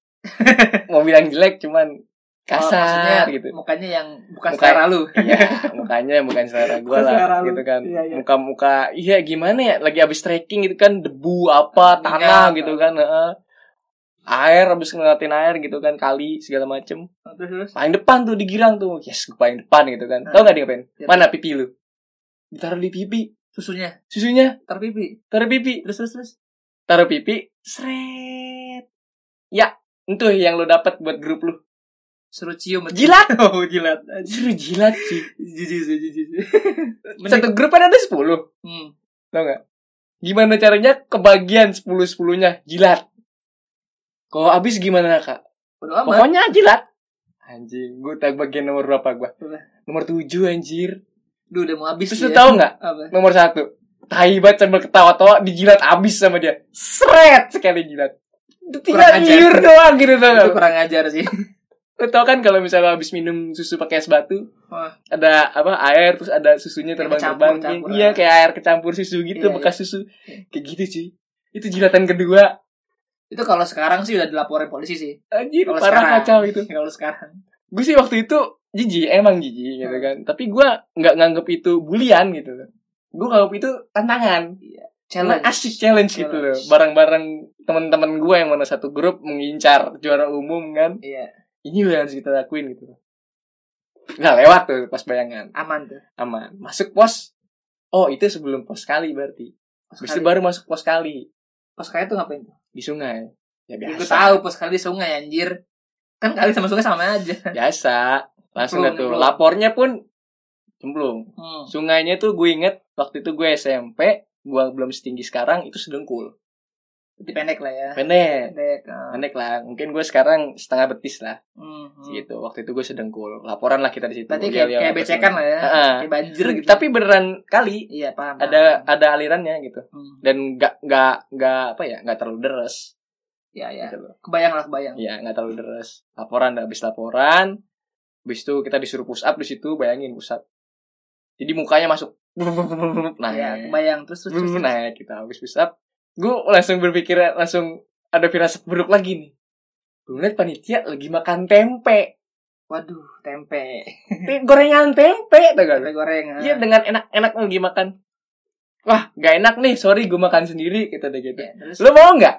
Speaker 2: Mau bilang jelek cuman
Speaker 1: Oh, maksudnya
Speaker 2: kasar gitu.
Speaker 1: mukanya yang bukan
Speaker 2: Muka-
Speaker 1: selera lu
Speaker 2: Iya, mukanya bukan selera gua
Speaker 1: Bukan
Speaker 2: lah
Speaker 1: selera lu.
Speaker 2: gitu kan.
Speaker 1: Iya, iya.
Speaker 2: Muka-muka iya gimana ya lagi habis trekking gitu kan debu
Speaker 1: Minyak,
Speaker 2: apa tanah gitu kan. heeh. air habis ngeliatin air gitu kan kali segala macem
Speaker 1: Oh, terus terus
Speaker 2: paling depan tuh digirang tuh yes gua paling depan gitu kan tau gak dia ngapain
Speaker 1: Iya.
Speaker 2: mana pipi lu ditaruh di pipi
Speaker 1: susunya
Speaker 2: susunya
Speaker 1: terpipi
Speaker 2: taruh pipi
Speaker 1: terus terus terus
Speaker 2: taruh pipi, seret. Ya, itu yang lo dapat buat grup lu.
Speaker 1: suruh cium
Speaker 2: <laughs> Jilat,
Speaker 1: oh jilat
Speaker 2: seru jilat sih.
Speaker 1: <laughs> jijik sih, jijik
Speaker 2: <laughs>
Speaker 1: sih.
Speaker 2: Satu grup kan ada 10,
Speaker 1: hmm.
Speaker 2: tau gak? Gimana caranya kebagian 10-10-nya jilat. Kalau habis gimana kak?
Speaker 1: Bodo amat
Speaker 2: Pokoknya jilat. Anjing, gue tak bagian nomor berapa gua?
Speaker 1: Berapa?
Speaker 2: Nomor 7 anjir. Iya.
Speaker 1: Duh, udah mau habis
Speaker 2: Terus lu
Speaker 1: nih
Speaker 2: tau gak?
Speaker 1: apa
Speaker 2: Nomor 1. Tai banget sambil ketawa-tawa dijilat abis sama dia. Seret sekali jilat. Itu tinggal
Speaker 1: ajar.
Speaker 2: liur doang gitu tau gak?
Speaker 1: itu kurang ajar sih
Speaker 2: <laughs>
Speaker 1: <laughs>
Speaker 2: Lo tau kan kalau misalnya habis minum susu pakai es batu,
Speaker 1: Wah.
Speaker 2: ada apa air terus ada susunya
Speaker 1: Kayak
Speaker 2: terbang-terbang.
Speaker 1: kecampur-campur.
Speaker 2: Iya kayak air kecampur susu gitu
Speaker 1: Iya,
Speaker 2: bekas susu.
Speaker 1: Iya.
Speaker 2: Kayak gitu sih. Itu jilatan kedua.
Speaker 1: itu kalau sekarang sih udah dilaporin polisi sih <laughs>
Speaker 2: Anjir
Speaker 1: Kalau
Speaker 2: parah
Speaker 1: sekarang.
Speaker 2: kacau itu.
Speaker 1: kalau sekarang
Speaker 2: Gue sih waktu itu jijik emang jijik gitu
Speaker 1: Hmm.
Speaker 2: kan. Tapi gue nggak nganggep itu bulian gitu loh. Gue nganggep itu tantangan. Challenge.
Speaker 1: challenge
Speaker 2: Asik challenge, gitu loh.
Speaker 1: Challenge.
Speaker 2: Barang-barang teman-teman gue yang mana satu grup mengincar juara umum kan.
Speaker 1: iya
Speaker 2: Ini loh yang harus kita lakuin gitu. Nah lewat tuh pas bayangan.
Speaker 1: aman tuh
Speaker 2: aman masuk pos oh itu sebelum pos kali berarti
Speaker 1: pos
Speaker 2: Habis itu
Speaker 1: kali
Speaker 2: baru masuk pos kali
Speaker 1: pos kali tuh ngapain tuh
Speaker 2: di sungai
Speaker 1: Ya,
Speaker 2: ya biasa
Speaker 1: gue tahu pos kali di sungai anjir kan kali sama sungai sama aja <laughs>
Speaker 2: biasa langsung dah
Speaker 1: Nyemplung,
Speaker 2: tuh
Speaker 1: nyemplung.
Speaker 2: lapornya pun cemplung
Speaker 1: hmm.
Speaker 2: sungainya tuh gue inget waktu itu gue SMP gue belum setinggi sekarang itu sedengkul
Speaker 1: Jadi pendek lah ya
Speaker 2: pendek
Speaker 1: pendek ah.
Speaker 2: pendek lah mungkin gue sekarang setengah betis lah
Speaker 1: hmm. hmm.
Speaker 2: gitu waktu itu gue sedengkul laporan lah kita di situ
Speaker 1: berarti
Speaker 2: Dia
Speaker 1: kayak,
Speaker 2: lihat
Speaker 1: kayak
Speaker 2: apa
Speaker 1: becekan lah ya
Speaker 2: Heeh. Hmm,
Speaker 1: kayak banjir gitu
Speaker 2: tapi beneran kali
Speaker 1: iya paham
Speaker 2: ada
Speaker 1: paham.
Speaker 2: ada alirannya gitu
Speaker 1: Hmm.
Speaker 2: dan nggak nggak nggak apa ya nggak terlalu deres
Speaker 1: ya ya
Speaker 2: gitu loh.
Speaker 1: kebayang lah kebayang
Speaker 2: Iya, nggak terlalu deres. Laporan, udah habis laporan. Habis itu kita disuruh push up di situ, bayangin push up. Jadi mukanya masuk <laughs> nah
Speaker 1: ya kebayang terus terus, terus, terus.
Speaker 2: nah kita habis push up gue langsung berpikir langsung ada firasat buruk lagi nih gue ngeliat panitia lagi makan tempe
Speaker 1: <laughs> waduh tempe
Speaker 2: Te- gorengan tempe tau gak
Speaker 1: tempe
Speaker 2: lu?
Speaker 1: ah. gorengan
Speaker 2: iya dengan enak-enak lagi makan wah gak enak nih sorry gue makan sendiri kita deh gitu
Speaker 1: Ya, terus
Speaker 2: lo mau nggak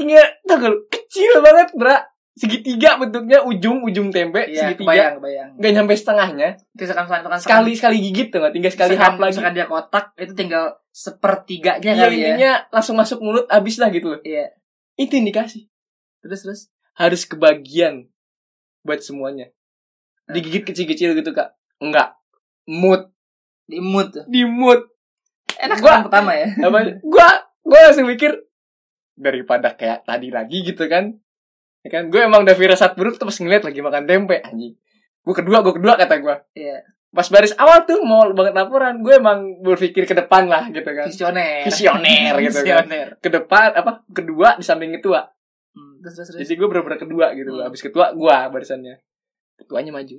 Speaker 2: iya tau gak lu? kecil banget bra segitiga bentuknya ujung ujung tempe
Speaker 1: ya,
Speaker 2: segitiga
Speaker 1: kebayang kebayang
Speaker 2: nggak nyampe setengahnya
Speaker 1: terus akan misalkan misalkan-
Speaker 2: sekali sekali gigit tuh nggak tinggal sekali
Speaker 1: misalkan-
Speaker 2: hap lagi
Speaker 1: misalkan dia kotak itu tinggal sepertiganya
Speaker 2: Iya
Speaker 1: kali ya
Speaker 2: intinya langsung masuk mulut abis lah gitu loh.
Speaker 1: Iya.
Speaker 2: Itu yang dikasih.
Speaker 1: terus terus
Speaker 2: Harus kebagian buat semuanya.
Speaker 1: Eh.
Speaker 2: Digigit kecil-kecil gitu kak. Enggak. Mood.
Speaker 1: di mood tuh
Speaker 2: Di mood.
Speaker 1: enak
Speaker 2: Gua-
Speaker 1: orang pertama ya
Speaker 2: Apa? gua, gua langsung mikir. Daripada kayak tadi lagi gitu kan. Ya kan? Gue emang udah firasat buruk tuh pas ngeliat lagi makan tempe. Anjing. Gue kedua, gue kedua kata gua
Speaker 1: Iya.
Speaker 2: Pas baris awal tuh mau banget laporan. Gue emang berpikir ke depan lah gitu kan.
Speaker 1: visioner
Speaker 2: Visioner gitu kan.
Speaker 1: visioner
Speaker 2: Ke depan, apa? Kedua di samping ketua.
Speaker 1: Hmm, terus terus terus
Speaker 2: Jadi gue bener-bener kedua gitu loh.
Speaker 1: Hmm.
Speaker 2: Abis ketua gue barisannya. Ketuanya maju.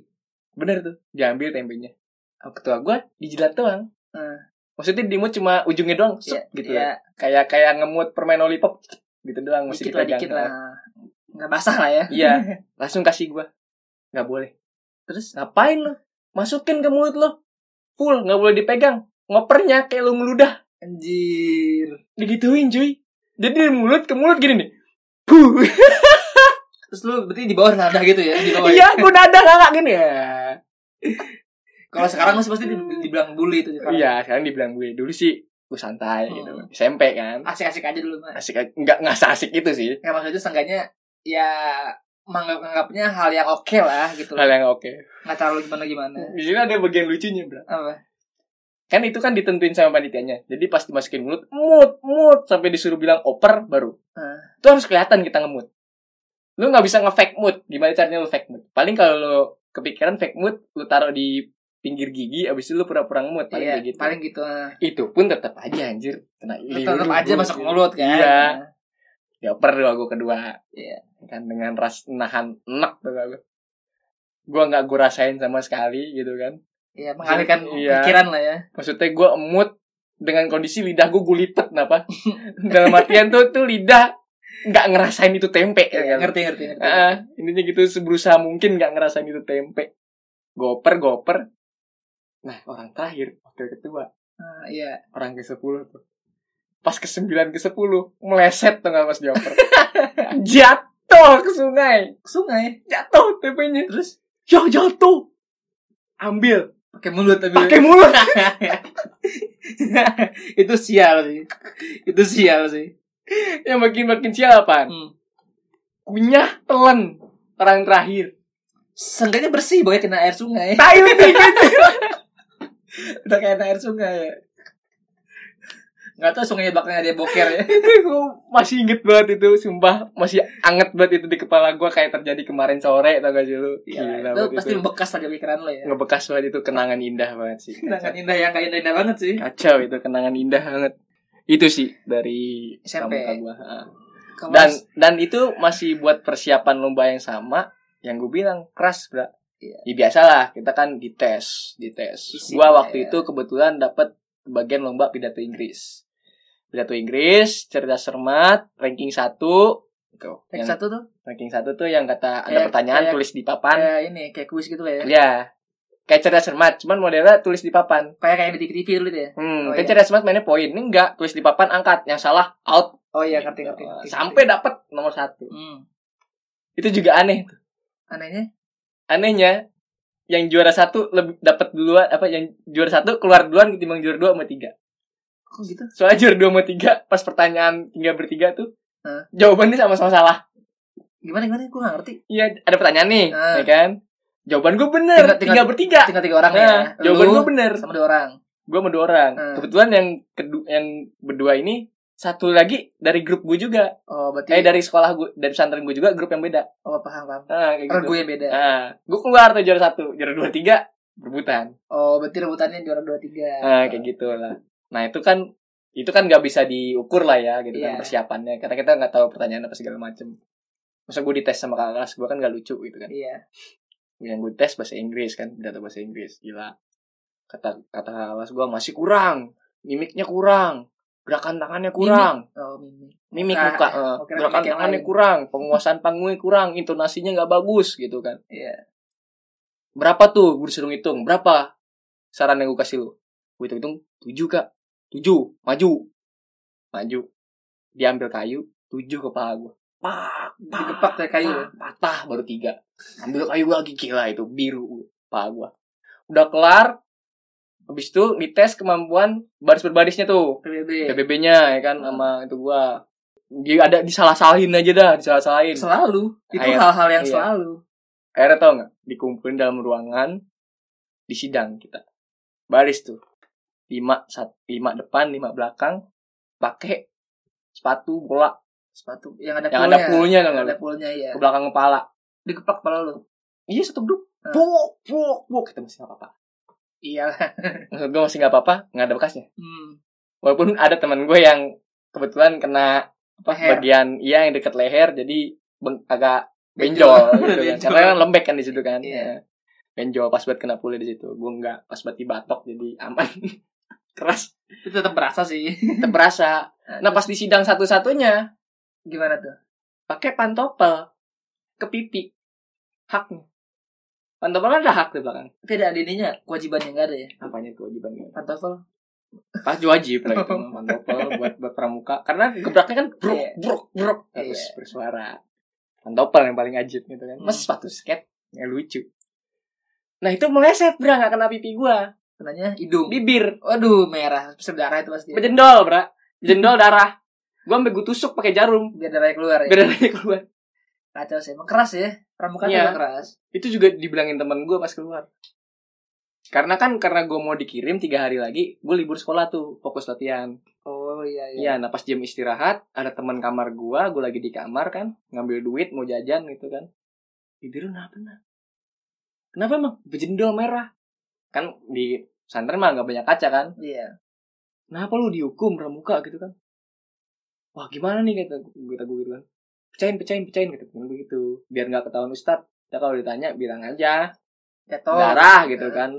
Speaker 2: Bener tuh. Diambil tempenya. Sama Ketua gue dijilat doang.
Speaker 1: Hmm.
Speaker 2: Maksudnya dimut cuma ujungnya doang.
Speaker 1: Iya,
Speaker 2: sup, gitu
Speaker 1: iya,
Speaker 2: ya. Kayak kayak ngemut permen lollipop. Gitu doang. Mesti
Speaker 1: dikit
Speaker 2: kita
Speaker 1: lah dikit lah nggak basah lah ya <laughs>
Speaker 2: Iya. Langsung kasih gue. Gak boleh.
Speaker 1: terus
Speaker 2: Ngapain lo? Masukin ke mulut lo. Full. Gak boleh dipegang. Ngopernya kayak lo ngeludah.
Speaker 1: anjir
Speaker 2: Digituin cuy. Jadi dari mulut ke mulut gini nih. Puh.
Speaker 1: terus lu berarti di bawah nada gitu ya di bawah ya?
Speaker 2: <laughs> Iya, gue nada kakak gini ya. <laughs>
Speaker 1: kalau sekarang lu pasti di- dibilang bully itu sekarang.
Speaker 2: Iya, sekarang dibilang gue dulu sih gue santai gitu.
Speaker 1: Hmm.
Speaker 2: SMP kan.
Speaker 1: asik-asik aja dulu mah
Speaker 2: Asik aja- nggak nggak asik itu sih.
Speaker 1: nggak maksudnya seenggaknya ya menganggapnya hal yang oke lah gitu
Speaker 2: Hal
Speaker 1: loh
Speaker 2: yang oke.
Speaker 1: nggak terlalu gimana gimana
Speaker 2: Di sini ada bagian lucunya, Bro.
Speaker 1: apa
Speaker 2: Kan itu kan ditentuin sama panitianya. Jadi pas dimasukin mulut, mut, mut sampai disuruh bilang oper baru.
Speaker 1: Hmm.
Speaker 2: Itu harus kelihatan kita ngemut. Lu nggak bisa nge-fake mood. Gimana caranya lu fake mood? Paling kalau lu kepikiran fake mood, lu taruh di pinggir gigi abis itu lu pura-pura ngemut paling
Speaker 1: Iya,
Speaker 2: kayak gitu.
Speaker 1: paling gitu ah.
Speaker 2: Itu pun tetap aja anjir. Kena
Speaker 1: tetap
Speaker 2: liur
Speaker 1: aja
Speaker 2: gua, Ya,
Speaker 1: masuk
Speaker 2: cuy.
Speaker 1: mulut kan
Speaker 2: Iya. dioper dua gue kedua
Speaker 1: Iya.
Speaker 2: kan dengan ras nahan enak tuh gue gue nggak gue rasain sama sekali gitu kan
Speaker 1: Iya, mengalihkan
Speaker 2: Iya.
Speaker 1: pikiran lah ya
Speaker 2: maksudnya gue emut dengan kondisi lidah gue gulipet kenapa <laughs> dalam artian tuh tuh lidah nggak ngerasain itu tempe
Speaker 1: Iya,
Speaker 2: ya kan?
Speaker 1: ngerti ngerti ngerti
Speaker 2: Ah, intinya gitu berusaha mungkin nggak ngerasain itu tempe goper goper nah orang terakhir wakil ketua
Speaker 1: Ah, iya
Speaker 2: orang ke sepuluh tuh pas ke sembilan ke sepuluh meleset tuh nggak pas dioper jatuh ke sungai
Speaker 1: Ke sungai
Speaker 2: jatuh TP-nya terus ya jatuh ambil
Speaker 1: pakai mulut tapi
Speaker 2: pakai mulut
Speaker 1: <laughs> itu sial sih itu sial sih
Speaker 2: yang makin makin sial apaan
Speaker 1: hmm.
Speaker 2: kunyah telan orang terakhir
Speaker 1: Seenggaknya bersih pokoknya kena air sungai
Speaker 2: tai lu nih, gitu
Speaker 1: udah kayak air sungai ya nggak tahu sungainya bakal ada boker ya
Speaker 2: gitu. Gua masih inget banget itu sumpah masih anget banget itu di kepala gua kayak terjadi kemarin sore tau gak sih lu
Speaker 1: Iya,
Speaker 2: <laughs> Gila
Speaker 1: itu
Speaker 2: banget
Speaker 1: pasti
Speaker 2: itu.
Speaker 1: bekas lah di pikiran lo ya
Speaker 2: ngebekas banget itu kenangan indah banget sih
Speaker 1: kenangan indah yang gak indah-indah banget sih
Speaker 2: kacau itu kenangan indah banget itu sih dari
Speaker 1: SMP.
Speaker 2: pramuka gua Ah.
Speaker 1: Kalau
Speaker 2: dan dan itu masih buat persiapan lomba yang sama yang gue bilang keras bra
Speaker 1: Iya.
Speaker 2: ya biasalah kita kan dites dites
Speaker 1: Isi,
Speaker 2: gue
Speaker 1: ya.
Speaker 2: waktu itu kebetulan dapat bagian lomba pidato Inggris pidato Inggris cerdas cermat ranking satu Tuh,
Speaker 1: tag
Speaker 2: yang-
Speaker 1: satu tuh
Speaker 2: ranking satu tuh yang kata ada
Speaker 1: Kayak-
Speaker 2: pertanyaan
Speaker 1: kayak-
Speaker 2: tulis di papan
Speaker 1: kayak ini kayak kuis gitu lah ya
Speaker 2: ya kayak cerdas cermat cuman modelnya tulis di papan
Speaker 1: kayak kayak di TV dulu tuh ya Oh,
Speaker 2: hmm kan
Speaker 1: iya.
Speaker 2: cerdas cermat mainnya poin ini enggak tulis di papan angkat yang salah out
Speaker 1: oh iya ngerti ngerti,
Speaker 2: Gitu.
Speaker 1: ngerti.
Speaker 2: sampai dapat nomor satu
Speaker 1: hmm.
Speaker 2: itu juga aneh
Speaker 1: anehnya
Speaker 2: anehnya yang juara satu lebih dapat duluan apa yang juara satu keluar duluan ketimbang juara dua sama tiga
Speaker 1: kok gitu
Speaker 2: soalnya juara dua sama tiga pas pertanyaan tiga bertiga tuh
Speaker 1: Hah?
Speaker 2: jawabannya sama-sama salah
Speaker 1: gimana gimana gue gak ngerti
Speaker 2: iya ada pertanyaan nih
Speaker 1: Hah.
Speaker 2: ya kan jawaban gue bener
Speaker 1: Tinggal-
Speaker 2: tiga
Speaker 1: tinggal-
Speaker 2: bertiga
Speaker 1: tinggal tiga orang ya
Speaker 2: nah, jawaban
Speaker 1: Lu
Speaker 2: gue bener
Speaker 1: sama dua orang
Speaker 2: gue sama dua orang
Speaker 1: Hah.
Speaker 2: kebetulan yang kedua yang berdua ini satu lagi dari grup gue juga
Speaker 1: oh berarti
Speaker 2: kayak dari sekolah gue dari pesantren gue juga grup yang beda
Speaker 1: oh paham paham
Speaker 2: nah, kayak gitu.
Speaker 1: regu yang beda
Speaker 2: nah, gue keluar tuh juara satu juara dua tiga berebutan
Speaker 1: oh berarti rebutannya juara dua tiga
Speaker 2: Nah, kayak gitu lah. Nah, itu kan itu kan nggak bisa diukur lah ya gitu kan
Speaker 1: Iya.
Speaker 2: persiapannya karena kita nggak tahu pertanyaan apa segala macem masa gue dites sama kakak kelas gue kan nggak lucu gitu kan
Speaker 1: iya
Speaker 2: yang gue tes bahasa Inggris kan pidato bahasa Inggris gila kata kata alas gua masih kurang mimiknya kurang gerakan tangannya kurang
Speaker 1: Oh, mimik.
Speaker 2: mimik,
Speaker 1: Muka.
Speaker 2: muka eh,
Speaker 1: Oh, kira
Speaker 2: gerakan
Speaker 1: mimik yang
Speaker 2: tangannya
Speaker 1: lain. <laughs>
Speaker 2: kurang penguasaan panggungnya kurang intonasinya nggak bagus gitu kan
Speaker 1: Iya.
Speaker 2: berapa tuh gue disuruh ngitung berapa saran yang gue kasih lu gue hitung hitung tujuh kak tujuh maju maju diambil kayu tujuh kepala gue pak
Speaker 1: Digepak kayak kayu.
Speaker 2: Patah, patah baru tiga ambil kayu lagi gila itu biru kepala gue udah kelar habis itu dites kemampuan baris berbarisnya tuh
Speaker 1: PBB.
Speaker 2: PBB-nya ya kan
Speaker 1: Hmm.
Speaker 2: sama itu gua dia ada disalah-salahin aja dah disalah-salahin
Speaker 1: Selalu. Itu
Speaker 2: Air.
Speaker 1: hal-hal yang
Speaker 2: Iya.
Speaker 1: selalu.
Speaker 2: akhirnya tau nggak dikumpulin dalam ruangan di sidang kita baris tuh lima sat, lima depan lima belakang pakai sepatu bola
Speaker 1: Sepatu yang ada
Speaker 2: yang
Speaker 1: poolnya.
Speaker 2: ada poolnya tau
Speaker 1: Yang
Speaker 2: nggak
Speaker 1: ada
Speaker 2: lu?
Speaker 1: poolnya ya.
Speaker 2: ke belakang kepala
Speaker 1: Digepak kepala lu.
Speaker 2: iya satu grup
Speaker 1: Hmm.
Speaker 2: puk puk puk kita masih nggak apa-apa
Speaker 1: Iya. <laughs>
Speaker 2: maksud gue masih nggak apa-apa nggak ada bekasnya
Speaker 1: Hmm.
Speaker 2: walaupun ada teman gue yang kebetulan kena apa,
Speaker 1: Leher.
Speaker 2: bagian iya yang dekat leher jadi beng- agak
Speaker 1: <laughs> Benjol.
Speaker 2: benjol gitu kan
Speaker 1: Benjol.
Speaker 2: karena kan lembek kan di situ kan
Speaker 1: Iya.
Speaker 2: benjol pas buat kena pulih di situ gue nggak pas buat dibatok jadi aman <laughs> keras
Speaker 1: Itu tetap berasa sih. <laughs>
Speaker 2: tetep berasa nah pas di sidang satu satunya
Speaker 1: Gimana tuh?
Speaker 2: pakai pantopel ke pipi haknya pantopel kan ada hak di belakang
Speaker 1: Tidak ada ininya. Kewajibannya nggak ada ya.
Speaker 2: apanya kewajibannya
Speaker 1: Pantofel.
Speaker 2: pas wajib lah
Speaker 1: <laughs>
Speaker 2: itu mah, pantopel buat buat pramuka karena gebraknya kan bruk
Speaker 1: Iya.
Speaker 2: bruk bruk harus
Speaker 1: Iya.
Speaker 2: bersuara pantopel yang paling ajib gitu kan
Speaker 1: Hmm.
Speaker 2: mas sepatu skate yang lucu nah itu meleset bra nggak kena pipi gua
Speaker 1: Kenanya hidung.
Speaker 2: bibir
Speaker 1: Waduh merah. Berdarah itu pasti. ya.
Speaker 2: jendol bra jendol darah gua sampai gua tusuk pakai jarum
Speaker 1: Biar darahnya keluar ya.
Speaker 2: biar darahnya keluar
Speaker 1: Kacau sih. Emang keras ya. Pramuka tuh
Speaker 2: Iya.
Speaker 1: emang keras.
Speaker 2: itu juga dibilangin teman gua pas keluar karena kan karena gua mau dikirim tiga hari lagi gua libur sekolah tuh fokus latihan
Speaker 1: Oh iya iya.
Speaker 2: Iya, nah pas jam istirahat ada teman kamar gua, gua lagi di kamar kan, ngambil duit mau jajan gitu kan. Bibir lu kenapa nah? Kenapa emang bejendol merah? Kan di pesantren mah nggak banyak kaca kan.
Speaker 1: Iya.
Speaker 2: Kenapa lu dihukum pramuka gitu kan? Wah gimana nih kata gue kata gue gitu kan. Pecahin, pecahin, pecahin kata temen gue gitu. Biar nggak ketahuan ustad. Kita kalau ditanya bilang aja
Speaker 1: Jatuh.
Speaker 2: darah gitu
Speaker 1: Iya.
Speaker 2: kan,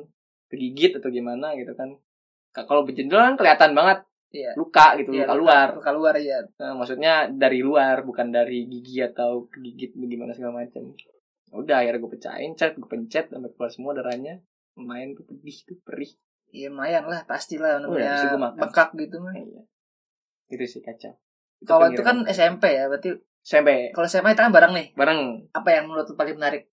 Speaker 2: kegigit atau gimana gitu kan. Kalau bejendol kan kelihatan banget
Speaker 1: Iya.
Speaker 2: luka gitu,
Speaker 1: Iya,
Speaker 2: luka luar.
Speaker 1: Luka luar ya.
Speaker 2: Nah, maksudnya dari luar, bukan dari gigi atau kegigit gimana segala macam. Ya Udah akhirnya gue pecahin, cat gue pencet sampai keluar semua darahnya. Main tuh pedih tuh perih.
Speaker 1: Iya lumayan lah pastilah
Speaker 2: Oh, iya,
Speaker 1: namanya
Speaker 2: bisa gua makan.
Speaker 1: bekak gitu mah.
Speaker 2: Nah, iya. Itu sih kacau.
Speaker 1: Kalau itu kan
Speaker 2: pengiriman.
Speaker 1: SMP ya, berarti
Speaker 2: SMP
Speaker 1: kalau SMA itu kan bareng nih.
Speaker 2: bareng
Speaker 1: Apa yang menurut lu paling menarik?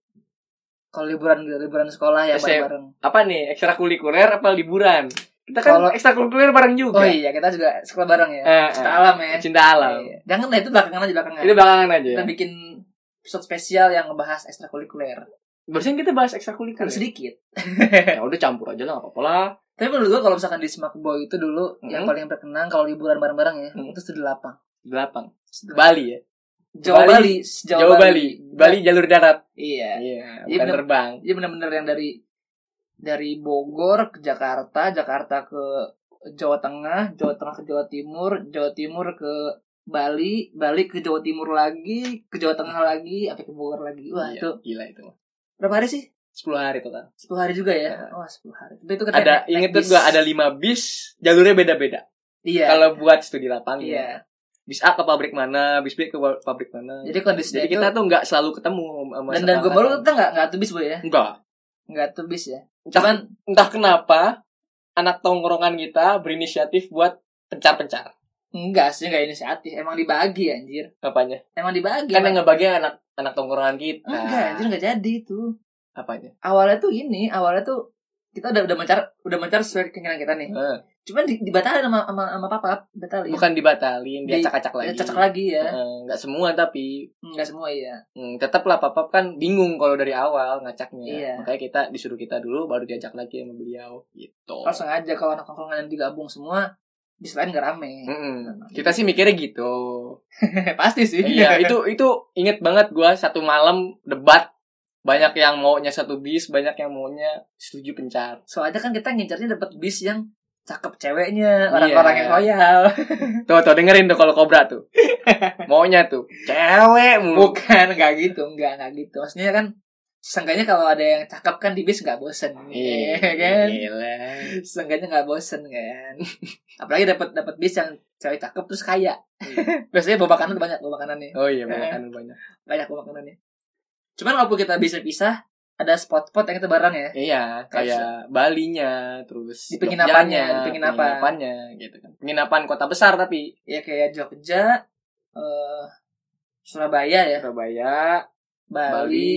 Speaker 1: Kalau liburan gitu, liburan sekolah ya
Speaker 2: SM.
Speaker 1: bareng-bareng.
Speaker 2: apa nih ekstrakurikuler apa liburan? Kita kan
Speaker 1: Kalau-
Speaker 2: ekstrakurikuler bareng
Speaker 1: Oh
Speaker 2: juga.
Speaker 1: iya, kita juga sekolah bareng ya.
Speaker 2: Eh,
Speaker 1: Cinta
Speaker 2: eh.
Speaker 1: alam ya.
Speaker 2: Cinta alam.
Speaker 1: Iya. Jangan lah itu belakangan aja belakangan.
Speaker 2: Itu belakangan aja ya.
Speaker 1: Kita bikin episode spesial yang ngebahas ekstrakurikuler.
Speaker 2: Iya. Barusan kita bahas
Speaker 1: Kan
Speaker 2: ekstrakurikuler. ya?
Speaker 1: sedikit.
Speaker 2: Ya udah campur aja lah, nggak apa-apa lah.
Speaker 1: Tapi menurut gua kalau misalkan di Smackboy itu dulu yang
Speaker 2: Mhm.
Speaker 1: paling berkenan kalau liburan bareng-bareng ya,
Speaker 2: Mhm.
Speaker 1: itu studi lapang.
Speaker 2: Delapan. Bali ya.
Speaker 1: Jawa Bali,
Speaker 2: Jawa, Bali. Bali jalur darat.
Speaker 1: Iya.
Speaker 2: Iya,
Speaker 1: Iya,
Speaker 2: bukan
Speaker 1: bener.
Speaker 2: terbang.
Speaker 1: Jadi benar-benar yang dari dari Bogor ke Jakarta, Jakarta ke Jawa Tengah, Jawa Tengah ke Jawa Timur, Jawa Timur ke Bali, Bali ke Jawa Timur lagi, ke Jawa Tengah lagi, apa ke Bogor lagi. Wah,
Speaker 2: Iya,
Speaker 1: itu
Speaker 2: gila itu.
Speaker 1: berapa hari sih?
Speaker 2: 10 hari tuh kan.
Speaker 1: 10 hari juga ya. Wah, 10 hari. Tapi itu kan
Speaker 2: Ada
Speaker 1: naik- naik
Speaker 2: inget tuh
Speaker 1: bis.
Speaker 2: gua ada 5 bis, jalurnya beda-beda.
Speaker 1: Iya.
Speaker 2: Kalau buat studi lapang. ya.
Speaker 1: iya.
Speaker 2: Bis A ke pabrik mana, bis B ke wa- pabrik mana.
Speaker 1: Jadi kondisinya
Speaker 2: Jadi
Speaker 1: itu
Speaker 2: kita tuh nggak selalu ketemu sama
Speaker 1: dan dan gue
Speaker 2: baru
Speaker 1: baru kita nggak nggak tubis bu ya,
Speaker 2: enggak.
Speaker 1: nggak tubis ya.
Speaker 2: Entah,
Speaker 1: Cuman
Speaker 2: entah kenapa anak tongkrongan kita berinisiatif buat pencar-pencar.
Speaker 1: enggak sih nggak inisiatif, emang dibagi anjir,
Speaker 2: Apanya?
Speaker 1: emang dibagi.
Speaker 2: Kan yang
Speaker 1: emang-
Speaker 2: ngebagi anak anak tongkrongan kita.
Speaker 1: Oh, enggak anjir nggak jadi itu.
Speaker 2: Apanya?
Speaker 1: awalnya tuh ini awalnya tuh kita udah udah mencar udah mencar sesuai keinginan kita nih
Speaker 2: Eh,
Speaker 1: cuman di, dibatalin sama sama sama papa batalin
Speaker 2: bukan dibatalin,
Speaker 1: Di- Ya,
Speaker 2: diacak-acak lagi.
Speaker 1: cocok lagi ya
Speaker 2: Eh, Nggak semua tapi
Speaker 1: nggak semua iya
Speaker 2: Hmm, tetap lah papap kan bingung kalau dari awal ngacaknya.
Speaker 1: Iya.
Speaker 2: Makanya kita disuruh kita dulu baru diajak lagi sama beliau gitu.
Speaker 1: kalau sengaja kalau anak tongkrongan yang digabung semua bis lain nggak rame
Speaker 2: Mm-mm. Hmm, Kita sih mikirnya gitu.
Speaker 1: <laughs> pasti sih
Speaker 2: iya, itu itu inget banget gua satu malam debat banyak yang maunya satu bis, banyak yang maunya setuju pencar.
Speaker 1: soalnya kan kita ngincarnya dapat bis yang cakep ceweknya
Speaker 2: Iya.
Speaker 1: orang-orang yang loyal
Speaker 2: Hmm. Tuh tuh dengerin tuh kalau kobra <laughs> tuh. Maunya tuh cewek mulu.
Speaker 1: bukan nggak gitu nggak nggak gitu maksudnya kan Seenggaknya kalau ada yang cakep kan di bis nggak bosen, <laughs>
Speaker 2: Iya
Speaker 1: ya kan?
Speaker 2: Gila.
Speaker 1: <laughs> Seenggaknya nggak bosen kan. <laughs> Apalagi dapat dapat bis yang cewek cakep terus kaya.
Speaker 2: Iya.
Speaker 1: <laughs> Biasanya bawa makanan tuh banyak bawa makanannya,
Speaker 2: Oh iya makan banyak.
Speaker 1: banyak bawa makanannya. Cuman walaupun kita bisa pisah, ada spot-spot yang kita bareng ya.
Speaker 2: Iya, kayak Balinya,
Speaker 1: Di
Speaker 2: terus
Speaker 1: penginapannya,
Speaker 2: Jogjanya,
Speaker 1: di penginapan.
Speaker 2: penginapannya gitu kan. Penginapan kota besar tapi
Speaker 1: Ya kayak Jogja, eh, Surabaya ya,
Speaker 2: Surabaya,
Speaker 1: Bali,
Speaker 2: Bali,